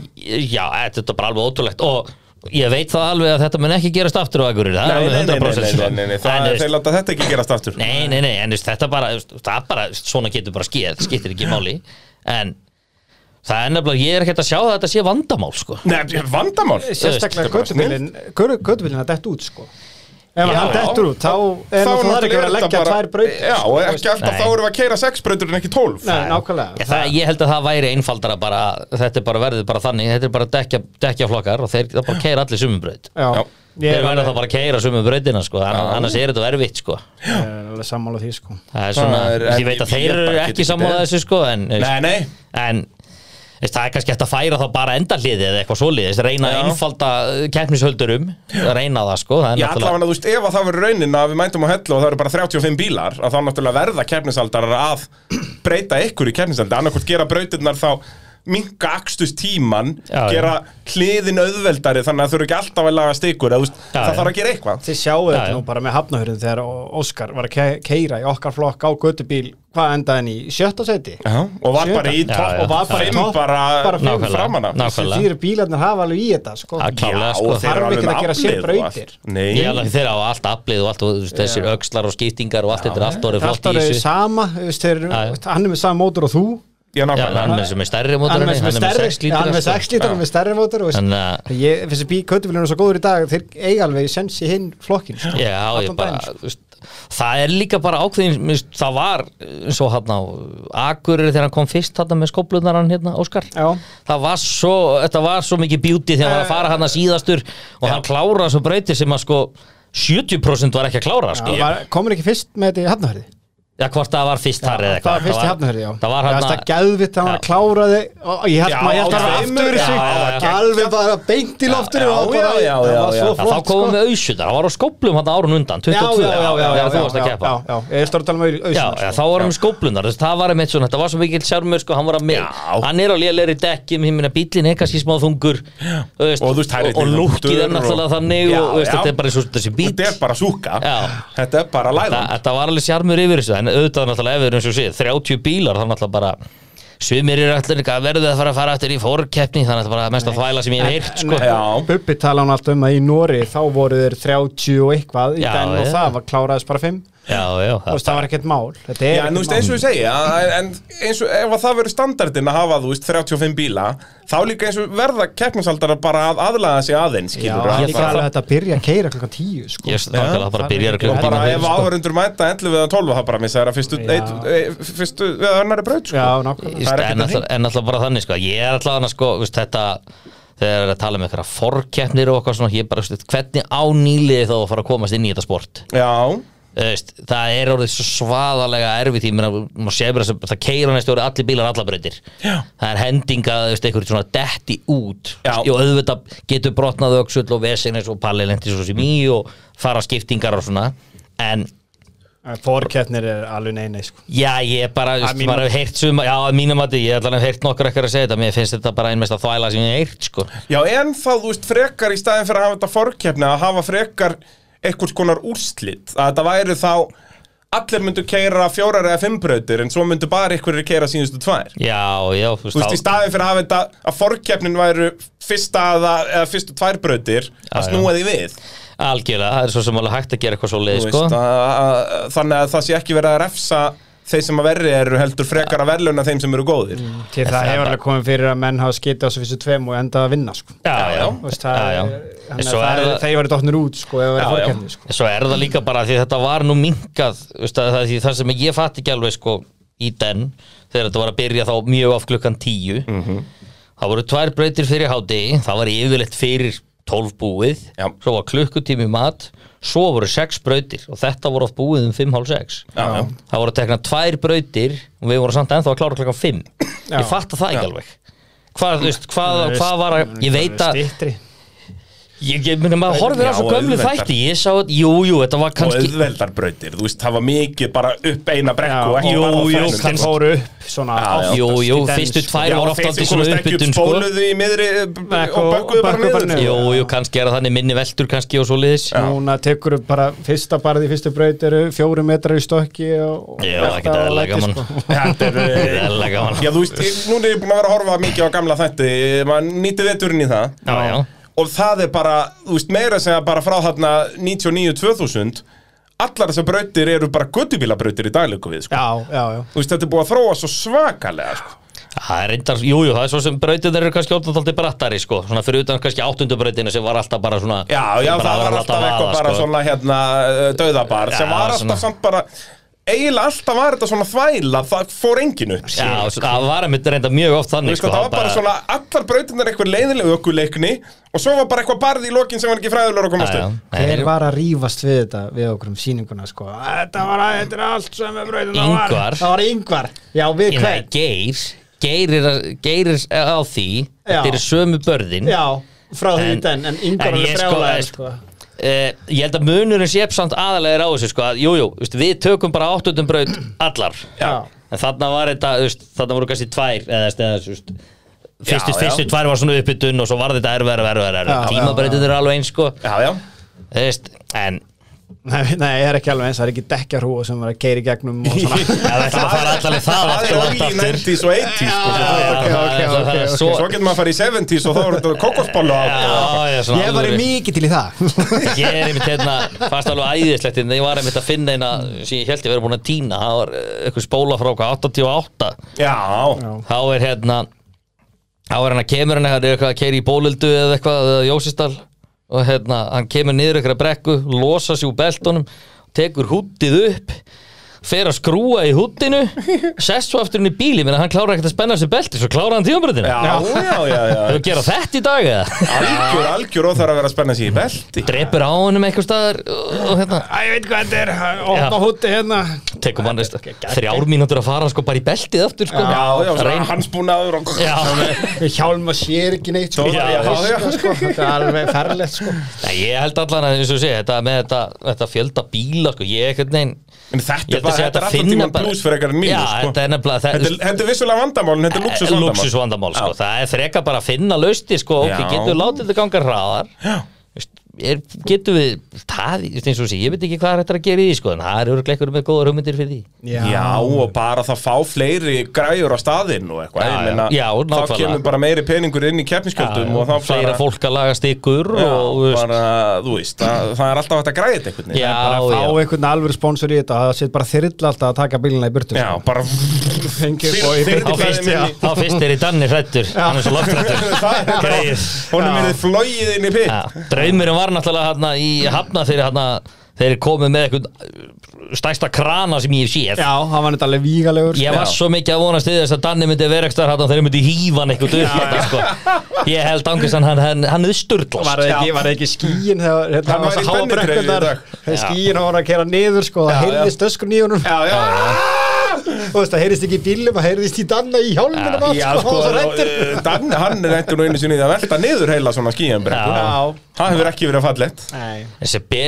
Já, þetta er bara alveg ótrúlegt og ég veit það alveg að þetta mun ekki gerast aftur á Akureyri, það er Nei, nei, alveg nei, nei, nei, 100% nei, nei, það sko. En, er veist, þeir láta þetta ekki gerast aftur. Nei, nei, nei, en þú veist, þetta bara, þú veist, það er bara, svona getur bara skeið, skiptir ekki máli, en það er nefnilega, ég er ekkert að sjá að þetta sé vandamál, sko. Nei, vandamál Sérstaklega Þetta er bara göttubílin Göttubílin að dett út sko Ef Já, hann já. dettur út þá er það náttúrulega ekki verið að þetta leggja bara- tvær braut Já, og ekki alltaf Nei. þá erum við að keira sex brautur en ekki tólf Nei, nákvæmlega Ég, það, ég held að það væri einfaldara bara, þetta er bara verðið bara þannig, þetta er bara dekja, dekja flokkar og þeir, það bara keira allir sumumbraut. Já. Já, ég Þeir er verða alveg- það bara að keira sumumbrautina, sko, annars, annars er þetta erfitt, sko. ég er alveg sammála því sko Það er svona, Það er- en ég veit ég- að þeir ég bara eru get ekki ekki sammáða beðið. þessu, sko, en, Nei, nei, en veist, það er kannski hægt að færa þá bara endahliðið eða eitthvað svoleiðis, reyna Já. að einfalda keppnishöldurum, reyna það, sko, það er ég allavega að þú veist ef að það verður raunin að við mætum á hellu og það eru bara 35 bílar að þá náttúrulega verða keppnisaldarar að breyta ykkur í keppnisaldar annarkvort gera brautirnar þá minka akstust tíman, Já, já. gera hliðin auðveldari þannig að þau eru ekki alltaf að laga stikur, að, þú veist, Já, það já. þarf að gera eitthvað Þið sjáu Já, þetta já. nú bara með hafnahörðin þegar Óskar var að keira í okkar flokk á göttubíl hvað endaði hann í sjötta seti Já, og var bara í Já, já. topp og var bara í fimm topp, bara bara fimm fimm framan af. Nákvæmlega. Þessi fyrir bílarnir hafa alveg í þetta sko Já, klálega, Já, sko. og þeir Þarf eru alveg ekkert með aflið að gera sér og brautir. allt. Nei, Ég alveg þeir á allt aflið og allt og þú veist, þessir öxlar og skiptingar og allt þetta er allt orðið flott Þetta í er þessu sama, þú veist, þeir, Já, já. hann er með sama mótor og þú Já, Já, hann nákvæmlega er sem er stærri mótor hann er en með ég, sem er stærri, sex já, lítra, hann er með sko. 6 lítur, hann er með stærri mótor og Þannig að, ég, þessi bí, köttubílinn er svo góður í dag þeir eiga alveg sens í hinn flokkin sko. já, ég Allan bara daginn, sko. þú veist, það er líka bara ákveðin þú veist, það var eins og hann á Akureyri þegar hann kom fyrst hann með skóplunar hann hérna, Óskar Já. það var svo, þetta var svo mikið beauty þegar hann var að fara hann að síðastur og hann kláraði svo breytir sem að sko 70% var ekki að klára Já, sko. var, komur ekki fyrst með þetta í hafnahörði Já, hvort það var fyrst þar eða það var eitthvað fyrst í hafnahörði, já Það Ég var hann veist það gæðvitt að hann kláraði og ég held Já, maður held á að hann tveimur, aftur í já, sig já, já. alveg bara beint í loftinu já, og bara- já, já, það var já, já. svo Já, þá flott komum sko. við auðsjöldar, það var á skóplum hann árun undan, já, 22 já, já, já, þú varst að já, keppa já, já, ég stór að tala um auð- Já, ausuna sko. já, þá var hann með skóplunar, þess, það var einmitt svona, þetta var svo mikill sjármur, sko, hann var að með, Já. hann er á lélegri dekkjum, ég minna bílinn er kannski smá þungur, þú veist, Og þú veist, það er og, og einnig lúkkið þungur er og- náttúrulega þannig Já, og þú veist, já. þetta er bara eins og þessi bíl, Þetta er bara súka Já. Þetta er bara Þa, læðan þetta var alveg sjármur yfir þessu, en auðvitað náttúrulega ef við erum eins og séð, 30 bílar, þá náttúrulega bara, sumir eru allir eitthvað verðið að fara að fara eftir í fórkeppni, þannig að þetta er bara mest að þvæla sem ég hef heyrt, sko. uh, Já. Bubbi tala hann alltaf um að í Nóri þá voru þeir 30 og eitthvað í Já, den og já. það var kláraðis bara 5 já, já, Þú það- veist, það var ekkert mál Þetta er Já, en þú veist, ekkert eins og ég segi, að- en eins og ef að það verður standardin að hafa, þú veist, 35 bíla, þá líka eins og verða keppnisaldara bara að aðlaða sig aðeins, Já, skilur líka alveg þetta að byrja að keira klokkan tíu sko. Ég stakala, bara byrjar að Og klukka bara tíma ef áhörundur mæta 11 eða 12, það bara missa þeirra fyrstu, Já. eitt, eitt, fyrstu, eða önnari braut, sko. Já, nákvæmlega það er ekkert en að alltaf, en alltaf bara þannig sko ég er alltaf hana sko, veist, þetta þegar það er að tala með eitthvað forkeppnir og eitthvað svona, ég er bara, veist, hvernig á nýliði þá að fara að komast inn í þetta sport Já, Þú veist, það er orðið svo svaðalega erfið því, menn að maður sé bara sem- það keira næstu orðið allir bílar allar breytir Já. það er hendinga, þú veist, einhverjum svona detti út, Já. og auðvitað getur brotnað öksull og vesenis og pallilentis og sem í og fara skiptingar og svona, en Fórkeppnir er alveg nei, nei sko. Já, ég bara, Að just, mínum- maður hef heyrt suma, já, að mínum að ég ætla að hef heyrt nokkur ekkert að segja þetta, mér finnst þetta bara einmest að þvæla sem ég hef heyrt, sko. Já, en þá, þú veist, frekar í staðin fyrir að hafa þetta forkeppni að hafa frekar einhvers konar úrslit að þetta væri þá allir myndu keira fjórar eða fimm brautir en svo myndu bara einhverjir keira síðustu tvær Já, já, þú Þú veist, í veist, þá, staðin fyrir að hafa þetta að forkeppnin væru fyrsta eða, eða fyrstu tvær brautir að Já, já. snúa því við algjörlega, það er svo sem alveg hægt að gera eitthvað svo leið, Þú sko. veist, að, að, þannig að það sé ekki verið að refsa þeir sem að verri eru heldur frekar að verðluna þeim sem eru góðir Til það, Það er hefur bara- alveg komið fyrir að menn hafa skitið á þessu fyrstu tveim og endað að vinna sko. Já, já, Þú veist, já, það já. er- En Þannig svo að er það er- það- þeir verið dotnir út sko, ef það verið Já, já. fórkeppni sko. En Svo er það líka bara því þetta var nú minkað, veist, að, það, því, það sem ég fatt ekki alveg, sko, í den, þegar þetta var að byrja þá mjög af klukkan tíu, Mhm. það voru tvær breytir fyrir hádegi, það var yfirleitt fyrir 12 búið, Já. svo var klukkutími í mat, svo voru sex brautir og þetta voru oft búið um 5.30 Já, já. það voru tekna tvær brautir og við vorum samt ennþá að klára klokkan 5 Já. ég fatta það ekki alveg hvað, þú veist, hvað, hvað var að ég veit að, Styttri. ég, ég muni maður horfir á svo Já, gömlu auðveldar. þætti ég sá, jú, jú, þetta var og kannski auðveldar brautir, þú veist, það var mikið bara upp eina brekku og Já, ekki jú, bara á jú, fernum. kannski fóru upp svona Já, já. oftast Jú, jú, í den, fyrstu sko. tvær Já, voru oft þeir sem aldrei komast ekki svona uppbytun, upp sko. spóluðu í miðri eh, b- Bekk og og- bökkuðu bara bökkuðu niður bara sko. niður. jú, jú, kannski er það þannig minni veldur kannski og svo liðis Núna tekur upp bara fyrsta barði, fyrstu braut eru fjóru metrar í stokki og já, það geta eðla gaman sko. Þetta er, eh, eðla gaman Já, þú veist, ég- núna er ég búin að vera að horfa mikið á gamla þætti eh, maður nýtti veturinn í það já, já og það er bara, þú veist, meira sem bara frá þarna 99-2000 allar þessar brautir eru bara guttubílabrautir í daglöku við, sko Já, já, já Þú veist, þetta er búið að þróa svo svakalega, sko Það er reyndar, jújú, jú, það er svo sem brautin eru kannski óttandaldi brattari, sko, svona fyrir utan kannski áttundu brautina sem var alltaf bara svona Já, já, bara það var að láta alltaf vaða, eitthvað bara sko. svona, hérna, eh, dauðabar Já, sem var alltaf svona- samt bara eiginlega alltaf var þetta svona þvæla það fór engin upp, Já, svo- það var einmitt reynda mjög oft Þú þannig veist sko, það var bara svona, allar brautinnar eitthvað leiðilega ökuleikni og svo var bara eitthvað barð í lokin sem var ekki fræðilegur að komast Já, upp. já. Hver Nei, var að rífast við þetta við okkur um sýninguna sko Þetta var að, þetta er allt sem er brautin það var- Ingvar. Það var yngvar, já við ég nei, hvern Geir Geir er, að- Geir er á því Já. Þetta eru sömu börðin Já, frá því En- í den, en yngvar en er ég sko, frjálæður veist- sko Eh, Ég held að munurinn sé samt aðalega er á þessu, sko, að jú, jú, veist, við tökum bara áttundum braut allar Já. En þarna var þetta, þú veist, þarna voru kannski tvær eða eða, þú veist Fyrstu, Já, já. fyrstu tvær var svona uppbytun og svo var þetta erfæra, erfæra, erfæra Já, Tímabreytið eru alveg eins, sko Já, já. Þú veist, en Nei, nei, það er ekki alveg eins, það er ekki dekkjarhúa sem var að keiri gegnum og svona það er að fara allaveg það Það aftur er og langt í aftur 90s og 80s, sko. Já, svo- já, ok, ok, Já, já, já, það- ok, það- ok. svo- Svo getur maður að fara í 70s og þá er þetta kokosbollu á. Já, já, svona Ég var alvöru. mikið til í það Ég er einmitt hérna, fast alveg æðislegt en ég var einmitt að finna eina sem ég held ég verið búin að týna það var eh, eitthvað spóla frá okkar 88 Já. Já. þá er hérna þá er hann að kemur hann það er eitthvað að keiri í bólildu eða eitthvað eða Jósistal og hérna hann kemur niður eitthvað brekku losa sér úr beltunum tekur húttið upp fer að skrúa í húttinu sest svo aftur inn í bíli menn að hann klára ekkert að spenna sér belti svo klára hann tíumbröðina Já, já, já, já. þau gera þetta í dag eða Algjör, algjör og það er að vera að spenna sér í belti. drepur á honum eitthvað staðar og og hérna Æ, ég veit hvað þetta er, opna húti hérna tekum hann veist, þrjár mínútur að fara sko bara í beltið aftur sko. Já, já, Reyn- svona hansbúnaður og... Já. Hjálma sér ekki neitt sko. Já, já, já. Sko, Þetta er alveg ferlegt sko Nei, ég held allan að eins og sé þetta með þetta, þetta fjölda bíla sko, ég ekkert neginn En þetta er bara, þetta er alltaf tíma plus fyrir eitthvað já, mínus, sko. þetta er Eh, nefnilega Þetta er- þetta er vissulega vandamálin, þetta er luxusvandamál. sko. luxusvandamál sko. það er freka bara að finna lausti sko, ok, Já. getur látið þetta ganga hraðar Já. Veist, er, getum við það, ég veist eins og sé, ég veit ekki hvað er þetta að gera í því sko, en það er öruglega einhverjum með góðar hugmyndir fyrir því Já, og bara það fá fleiri græjur á staðinn og eitthvað Já, Ég já. meina, Já, Þá nákvæmlega. kemur bara meiri peningur inn í keppniskjöldum og þá fleira bara, fólk að laga stykkur já, og þú veist, bara þú veist, það, það er alltaf hægt að græja þetta einhvern veginn já, bara að fá já, einhvern alvöru sponsor í þetta það sé bara þyrla alltaf að taka bílina í burtu sko. Já, bara fengið Þyr- og í þyrla- beinni þá fyrst, Já. þá fyrst er í danni hrættur, hann er svo loftrættur greið Honum er þið flogið inn í pitt Já, draumurinn var náttúrulega hérna í hafna þegar hérna þeir komið með eitthvað stæksta krana sem ég hef séð Já, hann var þetta alveg vígalegur Ég var Já. svo mikið að vonast til þess að Danni myndi vera ekstra hérna og þeir myndi hýfa hann eitthvað upp hérna sko. Ég held angist hann, hann, hann hefði sturdlast Var það ekki, var það ekki skíin þegar hérna, Hann var í þessar háa brennitreyju í brekkurnar, dag. þegar skíin var að kera niður sko, Já, það já. heyrðist öskur nýjunum Já, já, og það heyrðist ekki í bílum, það heyrðist í danna í hjálminum allt, já, sko, sko, hann var svo og, hræddur. eh, Dan, hann er eitthvað nú einu sinni í það að velta niður heila svona skíjambrekku Já. Það hefur ekki verið fallegt Nei. Þessi be,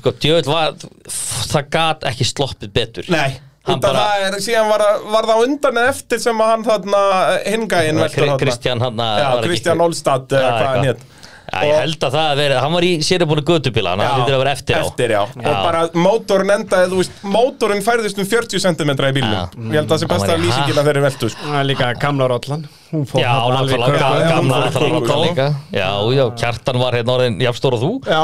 sko, djöðl var það gat ekki sloppið betur Nei, Hann út af bara- það er, síðan var, það- var það á undan eða eftir sem að hann þarna hingaðin veltur Kri- þarna Kristján hann Já, Kristján Olstad, eða hvað hann hétt Já, ég held að það að vera, hann var í séribúinu gödubíla, hann hlýtur að vera eftir á Eftir, já. Og bara mótorinn endaði, þú veist, mótorinn færðist um 40 cm í Já. bílnum. Ég held að það sé Hann besta var í lýsingin að þeirri veltu, sko. Það er líka gamla rollan Hún fór Já, þarna alveg í náttúrulega, körfu. já, gamla- hún fór í gamla náttúrulega kókó. rollan líka Já, já, kjartan var hérna orðin jafnstór og þú Já,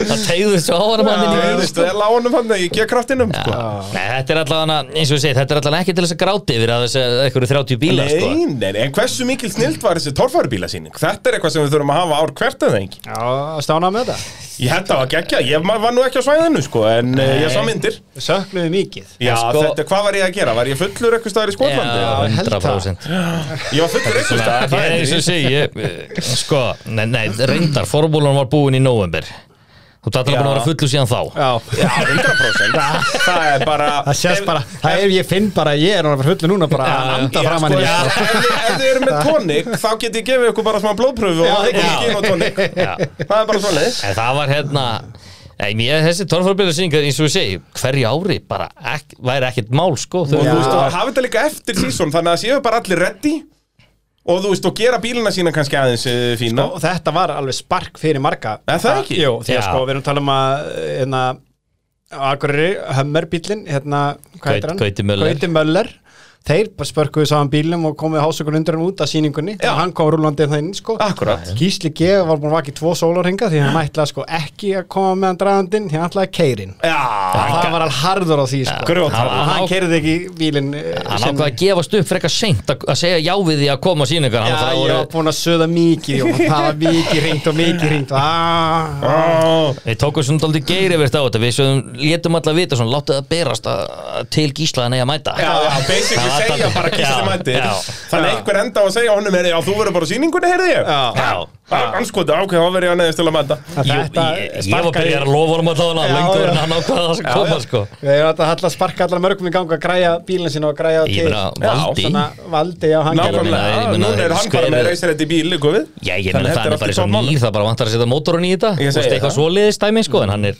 Það tegðist svo á hann Það manninni hefðist vel á honum hann í G-kraftinum, sko. Nei, þetta er allavega, eins og ég segi, þetta er allavega ekki til þess að gráti yfir að þessi einhverju 30 bíla, sko Nei, nei, nei, en hversu mikil snilt var þessi torfærubílasýning? Þetta er eitthvað sem við þurfum að hafa ár hvert eða ekki. já stánaði með þetta Ég held að það var geggja, ég ma- var nú ekki á svæðinu, sko, en nei. ég sá myndir. Við söknuðum mikið Já, sko- þetta, hvað var ég að gera? Var ég fullur eitthvað staðar í Skotlandi? Já, ég held það. 100% Ég var fullur eitthvað Svona, staðar, Ég það er er eins og því. segi, ég, eh, sko, nei, nei, reyndar, formúlan var búin í november Þú dættir að búin að Já. vera fullu síðan þá Já, Já, 100%. Það er bara... það sést bara Það er, ég finn bara, að ég er orðinn fullu núna bara að anda Já, fram sko, hann í já, sko. ef þið- ef þið eru með tónik þá get ég gefið ykkur bara smá blóðpröfu og það er ekki já. skinn og tónik Já. það er bara svona En það var hérna, nei, mér, þessi torfarbyrðarsýningar, eins og ég segi, hverju ári bara ek, væri ekkert mál, sko og já. þú veist, og hafa þetta líka eftir sísón þannig að séu bara allir ready og þú veist, og gera bílina sína kannski aðeins eh, fína Sko. Og sko, þetta var alveg spark fyrir marga Er það ekki? Jú, því að Já. sko, við erum að tala um að hérna, Akureyri, Hömmer bílinn hérna, hvað Gaut- heitir hann? Gauti Möller. Gauti Möller Þeir bara spörkuðu saman bílum og komið hásökun undir hann út af síningunni Já. og hann kom rúlandi það inn sko Akkurat. Gísli G var búin að vaki tvo sólarhinga því hann ætlaði sko ekki að koma með hann draðandinn því hann ætlaði keirin Já, Það var alveg harður á því sko grjótar Og hann Hann- keirði ekki bílinn eh, Hann sinn. ákvað að gefast upp frekar seint að, að segja já við því að koma á Já, sýningar hann var ég orðið- var búin að söða mikið og það var mikið ringt og "Ah." mikið ringt og Ó, aaaah Við tókum svona daldið geiri verið á þetta Við sögum, létum alla vita svona Láttu það berast að, að til gíslaðan eigi að mæta Já, já, basically Það var segja dálítið- bara Já, kýstum mættir já. Þannig að einhver enda á að segja honum er, Já, þú verður bara á sýningunni, heyrði ég Já. Já. Anskotu, ákveð, þá verður ég að neðist til að mæta Jú, Þetta ég, ég var sparkar í- byrjar að lofa honum allavega Já, Lengur já. en hann ákvaða það sem Já, koma já. sko Við erum alltaf að halla sparka allar mörgum í gang að græja bílinn sín og að græja Ég meina, Já, valdi Svona valdi á hann gerði meina, ég Nákvæmlega, meina, núna er hann bara skverið- með reysrætt í bíl, ykkur við Já, ég meina Þannig það þetta er allt bara í svo toppmálum. nýr Það bara vantar að setja mótorun í þetta Ég Þú veist segi eitthvað það. svoleiðis dæmi sko En hann er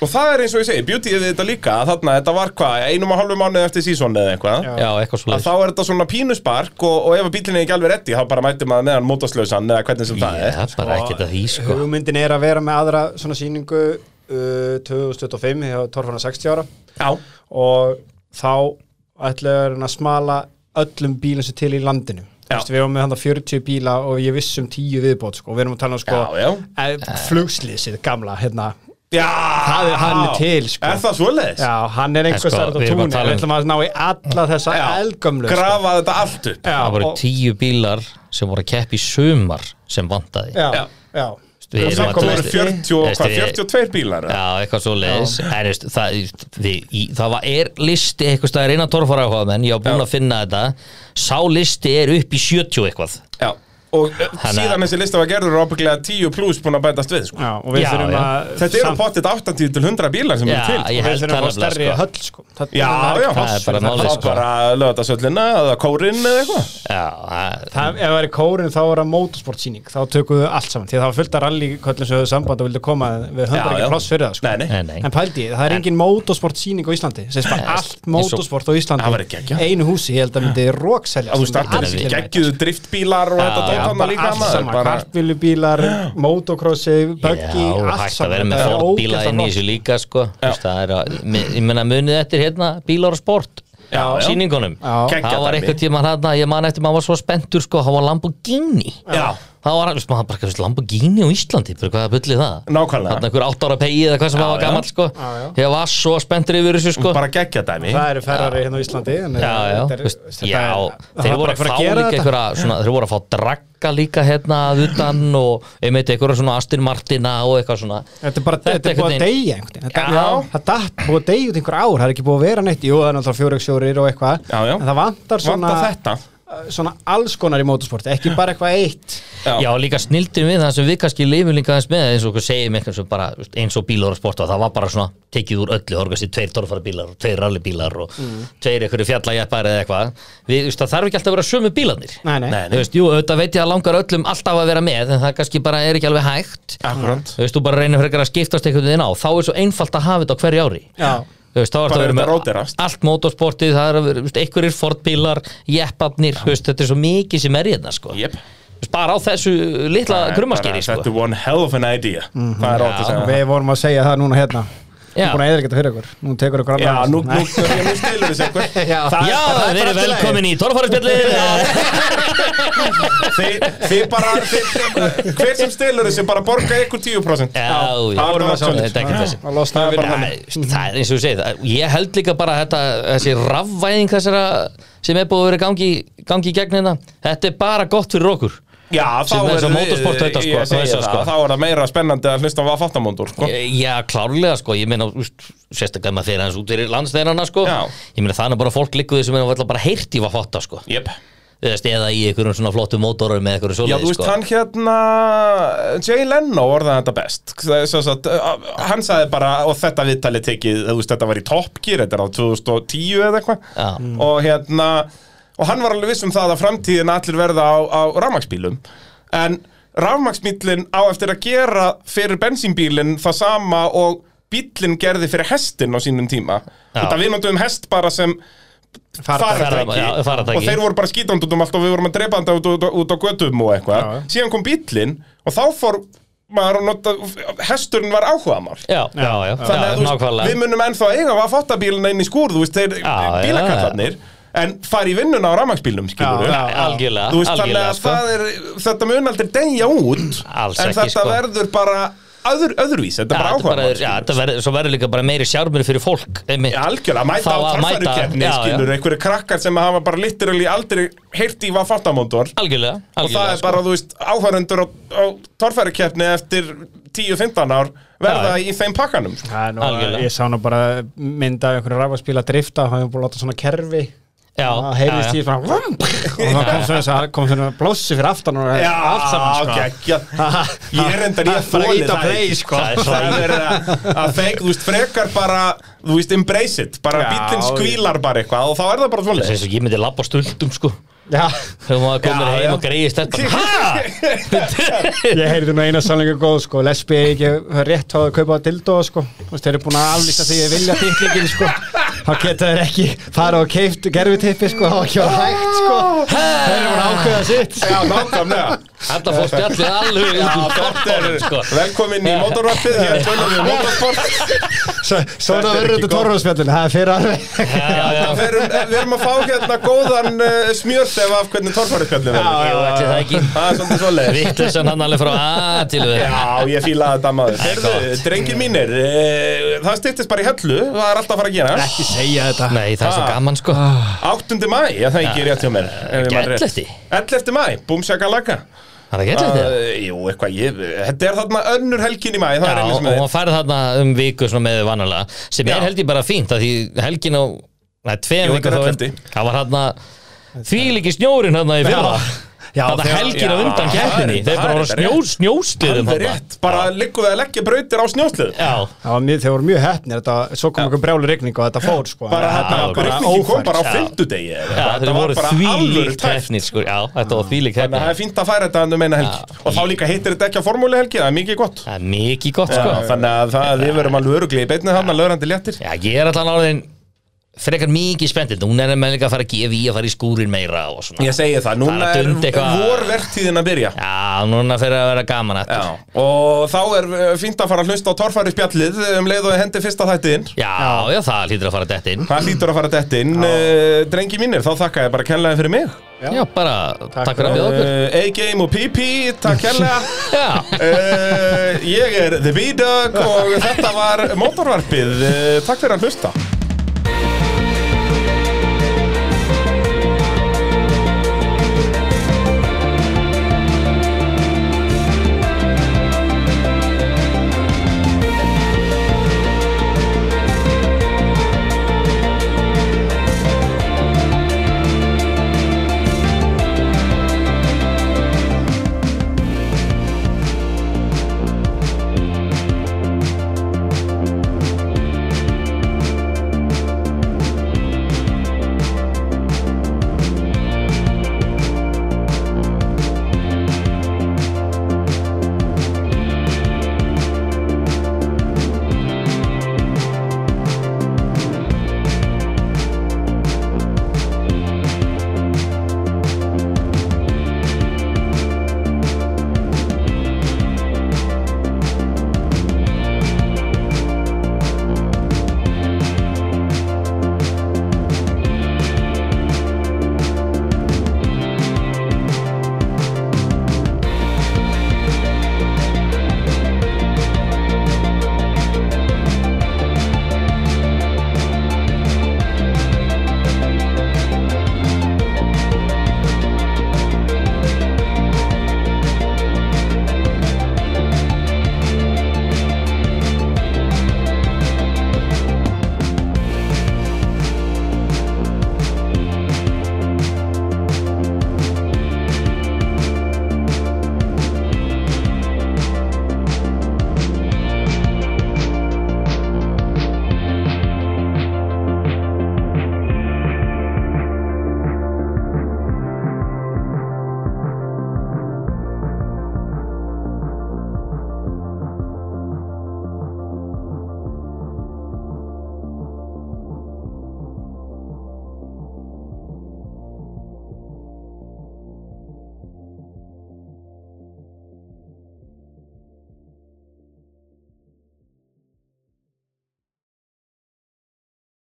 Og það er eins og ég segi, beautyið við þetta líka að þarna, þetta var hvað, einum og hálfu mánuð eftir sísónu eða eitthvað Já, eitthvað að svoleiðis þá er þetta svona pínuspark og, og ef bílinni er ekki alveg reddi, þá bara mætir maður meðan mótorslausan eða hvernig sem það Já, er bara ekkert að því sko Hugmyndin er að vera með aðra svona síningu uh, 2025 hjá Torfana 60 ára Já, og þá ætlaður hann að smala öllum bílum sem til í landinu Þú Já. veist, Við erum með hann 40 bíla og ég viss um 10 viðbót sko. og við erum að tala um sko, Já, já. eh, flugslýsið gamla hérna. já Það er hann til, sko. Er það svoleiðis? Já, hann er einhver sko, starf á við erum að túnir tala um- Við ætlum að ná í alla þessa eldgömlu sko. Grafa þetta allt upp Já, Það voru og- tíu bílar sem voru að keppa í sumar sem vantaði Já. Já, já Við Og það erum að um um komur treysta- 40, og- Veistu, hvað, við- 42 bílar eða? Já, eitthvað svo leiðis En veist, það, við, í, það var, er listi eitthvað staðar innan torfara áhuga menn Ég var búinn að finna þetta Sá listi er upp í 70 eitthvað Já Og ö, Þannig að- síðan þessi lista var gerður er ábygglega 10 pluss búin að bætast við, sko Já, og við Já, þurfum já. að Þetta eru samt- pottit 80 til 100 bílar sem Já, eru til, sko ég og við held þurfum það að fá nefnilega, stærri sko. höll sko. Það- Já, það er já. ekki pláss Það fyrir er bara málið, Þá það. sko. bara lögðasöllina eða kórinn eða eitthvað Já, það- Það, ef það er kórin þá er það motorsportsýning þá tökum við allt saman, því að það var fullt að rallyköllum sem höfðu samband og vildu koma við Já, höndar já. ekki pláss fyrir það sko. Nei, nei nei, nei en pældi, ég, það er engin motorsportsýning á Íslandi sem er Nei, bara allt eins og- motorsport á Það væri Íslandi geggjað. einu húsi, ég held að myndi að þú rókselja startar þessi geggjuðu driftbílar og Já, þetta át já, hann bara líka allt maður, saman, bara- kartbílubílar, motocrossi, buggy, Já, allt hægt að saman vera með Þetta er fordbíla ógeðslega inn í flott. þessu líka sko. Þú veist, það er að, mi- ég menna munið eftir hérna bílar og sport Já, já. síningunum Já. Geggjað það var dæmi. eitthvað tíma hérna, ég man eftir maður var svo spendur sko, það var Lamborghini Já. það var, veist, maður bara, veist, Lamborghini á Íslandi bara hvað er bullið það? Nákvæmlega. Þarna einhver 8 ára pegi eða hvað sem það var já. gammal sko. Já, já. ég var svo spendur yfir þessu sko. bara geggja dæmi Það eru ferrari hérna á Íslandi en, Já, já, þetta er- veist, þetta já er- það þeir var voru bara að fyrir fá að gera líka þetta. einhverja, svona, þeir voru að fá dragga líka hérna að utan og einmitt einhverja svona Astin Martina og eitthvað svona Þetta er bara, Þetta þetta er einhvern búið að veginn- deyja einhvern veginn. Þetta- Já. Það datt búið að deyja út einhver ár, það er ekki búið að vera neitt Jú, það er náttúrulega fjóruksjórir og eitthvað Já, já. En það vantar svona, eh, Vantar þetta. svona alls konar í motorsporti, ekki bara eitthvað eitt Já. Já, líka snildir við það sem við kannski lifum líka aðeins með eins og okkur segjum eitthvað sem bara þú veist, eins og bílar og sport og það var bara svona tekið úr öllu orgast í tveir torfara bílar og tveir rally bílar og Mm. tveir einhverju fjallajæppar eða eitthvað við, þú veist, það þarf ekki alltaf að vera sömu bílarnir Nei, nei. þú veist, jú, auðvitað veit ég að langar öllum alltaf að vera með en það kannski bara er ekki alveg hægt Akkurant þú veist, þú bara reynir frekar að skiptast einhvern veginn á þá er svo einfalt að hafa þetta á hverju ári Já. þú veist, þá er Bara það verið þetta með róterast. allt motorsportið, það er að vera, þú veist, einhverjir fordbílar, jeppafnir, þú veist, þetta er svo mikið sem er hérna, sko Jep. Þú veist, bara á þessu litla krummaskeri, sko Þetta er one hell of an idea Það er rátt að Já. segja það Sko, Við vorum að segja það núna hérna Við Já. erum búin að eða þetta fyrir ykkur Nú tekur ykkur Já, nú, nú, nú, Nei. nú stilur þessi einhver Já, Já, það er þeir bara eru allt í lagi. velkomin í Torfararspjallið Þið þið bara, þið, hver sem stilur þessi bara borga ykkur 10% Já, já, það er bara þetta svoleiðis. er ekkert þessi Það losnaði Það er við- bara- Nei, Það er eins og ég segi það Ég held líka bara þetta, þessi rafvæðing þessara sem er búið að vera í gangi, gangi í gegn hérna Þetta er bara gott fyrir okkur Já, þá Sem er þessi motorsport þetta, sko, ég segi þessi, það, sko. Þá er það meira spennandi að hlusta á að fattamóndur sko. E, Já, klárlega sko, ég meina úst, sérstaklega maður þeirra hans út fyrir landsteinana sko Já. Ég meina þannig bara fólk liggur því sem er bara heyrt í hvað fatta sko Jep Þú veist, Eða í einhverjum svona flottum mótorum með Já, einhverjum þú svoleiði veist, sko hann hérna Jay Leno orðaði þetta best Það er svo sagt, uh, Hann sagði bara og þetta viðtalið tekið, þú veist, þetta var í Top Gear þetta er á 2010 eða Já. eitthvað og hérna og hann var alveg viss um það að framtíðin allir verða á, á rafmaksbílum en rafmaksbílinn á eftir að gera fyrir bensínbílinn það sama og bílinn gerði fyrir hestin á sínum tíma Já. þetta við notum hest bara sem Farartæki. faratæki Já, faratæki. og þeir voru bara skítandi út um allt og við vorum að drepa þetta út, út, út á götum og eitthvað Já. síðan kom bíllinn og þá fór maður að nota, hesturinn var áhugamál Já, já, já, já, þannig að þú veist, nákvæmlega við munum ennþá eiga að fatta bílina inn í skúr, þú veist, þeir já, bílakallarnir en fari í vinnuna á rafmaksbílum, skilur Já, já. Algjörlega, þú veist, þannig algjörlega sko. að það er, þetta mun aldrei degja út, Alls en ekki, þetta sko. verður bara öður, öðruvís, þetta er Já, bara þetta bara áhugamál er- já, þetta verður, svo verður líka bara meiri sjármur fyrir fólk einmitt. Já, algjörlega, mæta Þá á að mæta- tarfarukefni já, já. skilur, einhverju krakkar sem hafa bara literally aldrei heyrt í hvað fattamóndor Algjörlega, algjörlega sko. og það er bara, þú veist, áhörundur á, á torfærikeppni eftir 10-15 ár verða í þeim pakkanum sko. Það er nú- Algjörlega. Ég sá nú bara mynda af einhverju rafvarspíla að drifta og hann hefur búin að láta svona kerfi Já, og það heyrðist já, já. í svona vum, og það kom svona, það kom svona blóssi fyrir aftan og Já, allt saman sko. geggjað. Ég er endar ég bara þoli ít að það play ekki. sko Það er Það er að, að þeik, þú veist, frekar bara þú veist, embrace it, bara Já, bíllinn skvílar bara eitthvað og þá er það bara Það er svona eins og ég myndi labba á stundum sko Já, Þegar maður komir Já, heim já. og greiðist þetta bara, Hæ? ég heyrði nú eina sannleika góð sko lesbi er ekki rétt á að kaupa dildó sko, þú veist, þeir eru búin að aflýsa því að vilja titlingin sko þá geta þeir ekki fara og keift gerfi tippi sko, þá ekki var hægt sko þeir eru búin að ákveða sitt sko. Já, nákvæmlega Þetta fór spjallið alveg út úr Þetta er bottanum sko velkomin í motorvarpið hér tölum við um motorsport Svo- Þetta svona er verður ekki þetta gott. torfarspjallin, það er fyrir alveg Já, já, Við erum, við erum að fá hérna góðan uh, smjörtef af hvernig torfærikeppni verður já, ætli það ekki Það er svolítið svoleiðis Vittleysan hann alveg frá A til við Já, ég fílaði þetta maður Heyrðu, gott. drengir mínir e, Það styrtist bara í hellu, það er alltaf að fara að gera ekki segja þetta Nei, það er svo Ah. gaman sko 8. mæ, já það er ekki rétt hjá mér ekki 11. 11. mæ, búmsjaka laga Það er ekki eitthvað þetta Jú, eitthvað, ég, þetta er þarna önnur helgin í mæ Það er Já, einu og sem hann færði þarna um viku svona með vanalega sem Já. er held ég bara fínt að því helgin á neða, tveim Jú, viku þetta er þá er- ellefti. það var þarna þvílíki snjórin þarna í fyrra Já, þarna þegar- helgin á já, undan það er- keppinni það þeir bara er voru þetta snjó, rétt. snjóstuðum Það er rétt, bara liggum við að leggja brautir á snjóslið já, Það var mjög, þeir voru mjög heppnir, þetta, svo kom einhver brjálu rigning og þetta fór sko. Bara Já, hérna, bara breytningin kom ófært. bara á Já. fimmtudegi eða já eitthvað. þeir Þetta var voru bara alvöru þvílík tæft. keppnir sko, já, þetta var þvílík Þannig að það er keppnir fínt að færa þetta hann um eina helgi Og þá líka heitir þetta ekki á formúli helgi, það er mikið gott það er mikið gott Já, sko Þannig að það- við verum alveg öruglega í beinni þarna, lögrandi léttir já, ég er allan orðin frekar mikið spenntið hún er með líka að fara að gefa í að fara í skúrin meira og svona Ég segi það, núna Það er að er dunda eitthvað. vorvertíðin að byrja Já, núna fyrir að vera gaman aftur Já, og þá er eh, fínt að fara að hlusta á torfæri spjallið um leið og ég hendi fyrsta þættin Já, já, það hlýtur að fara dætt inn Það hlýtur að fara þetta inn Eh, Drengi mínir, þá þakka ég bara kennlega fyrir mig Já, bara takk fyrir að bjóða okkur Eh, A-Game og PP, takk Eh, kennlega Já, Uh, ég er The B-Dog og þetta var mótorvarpið. Uh, takk fyrir að hlusta.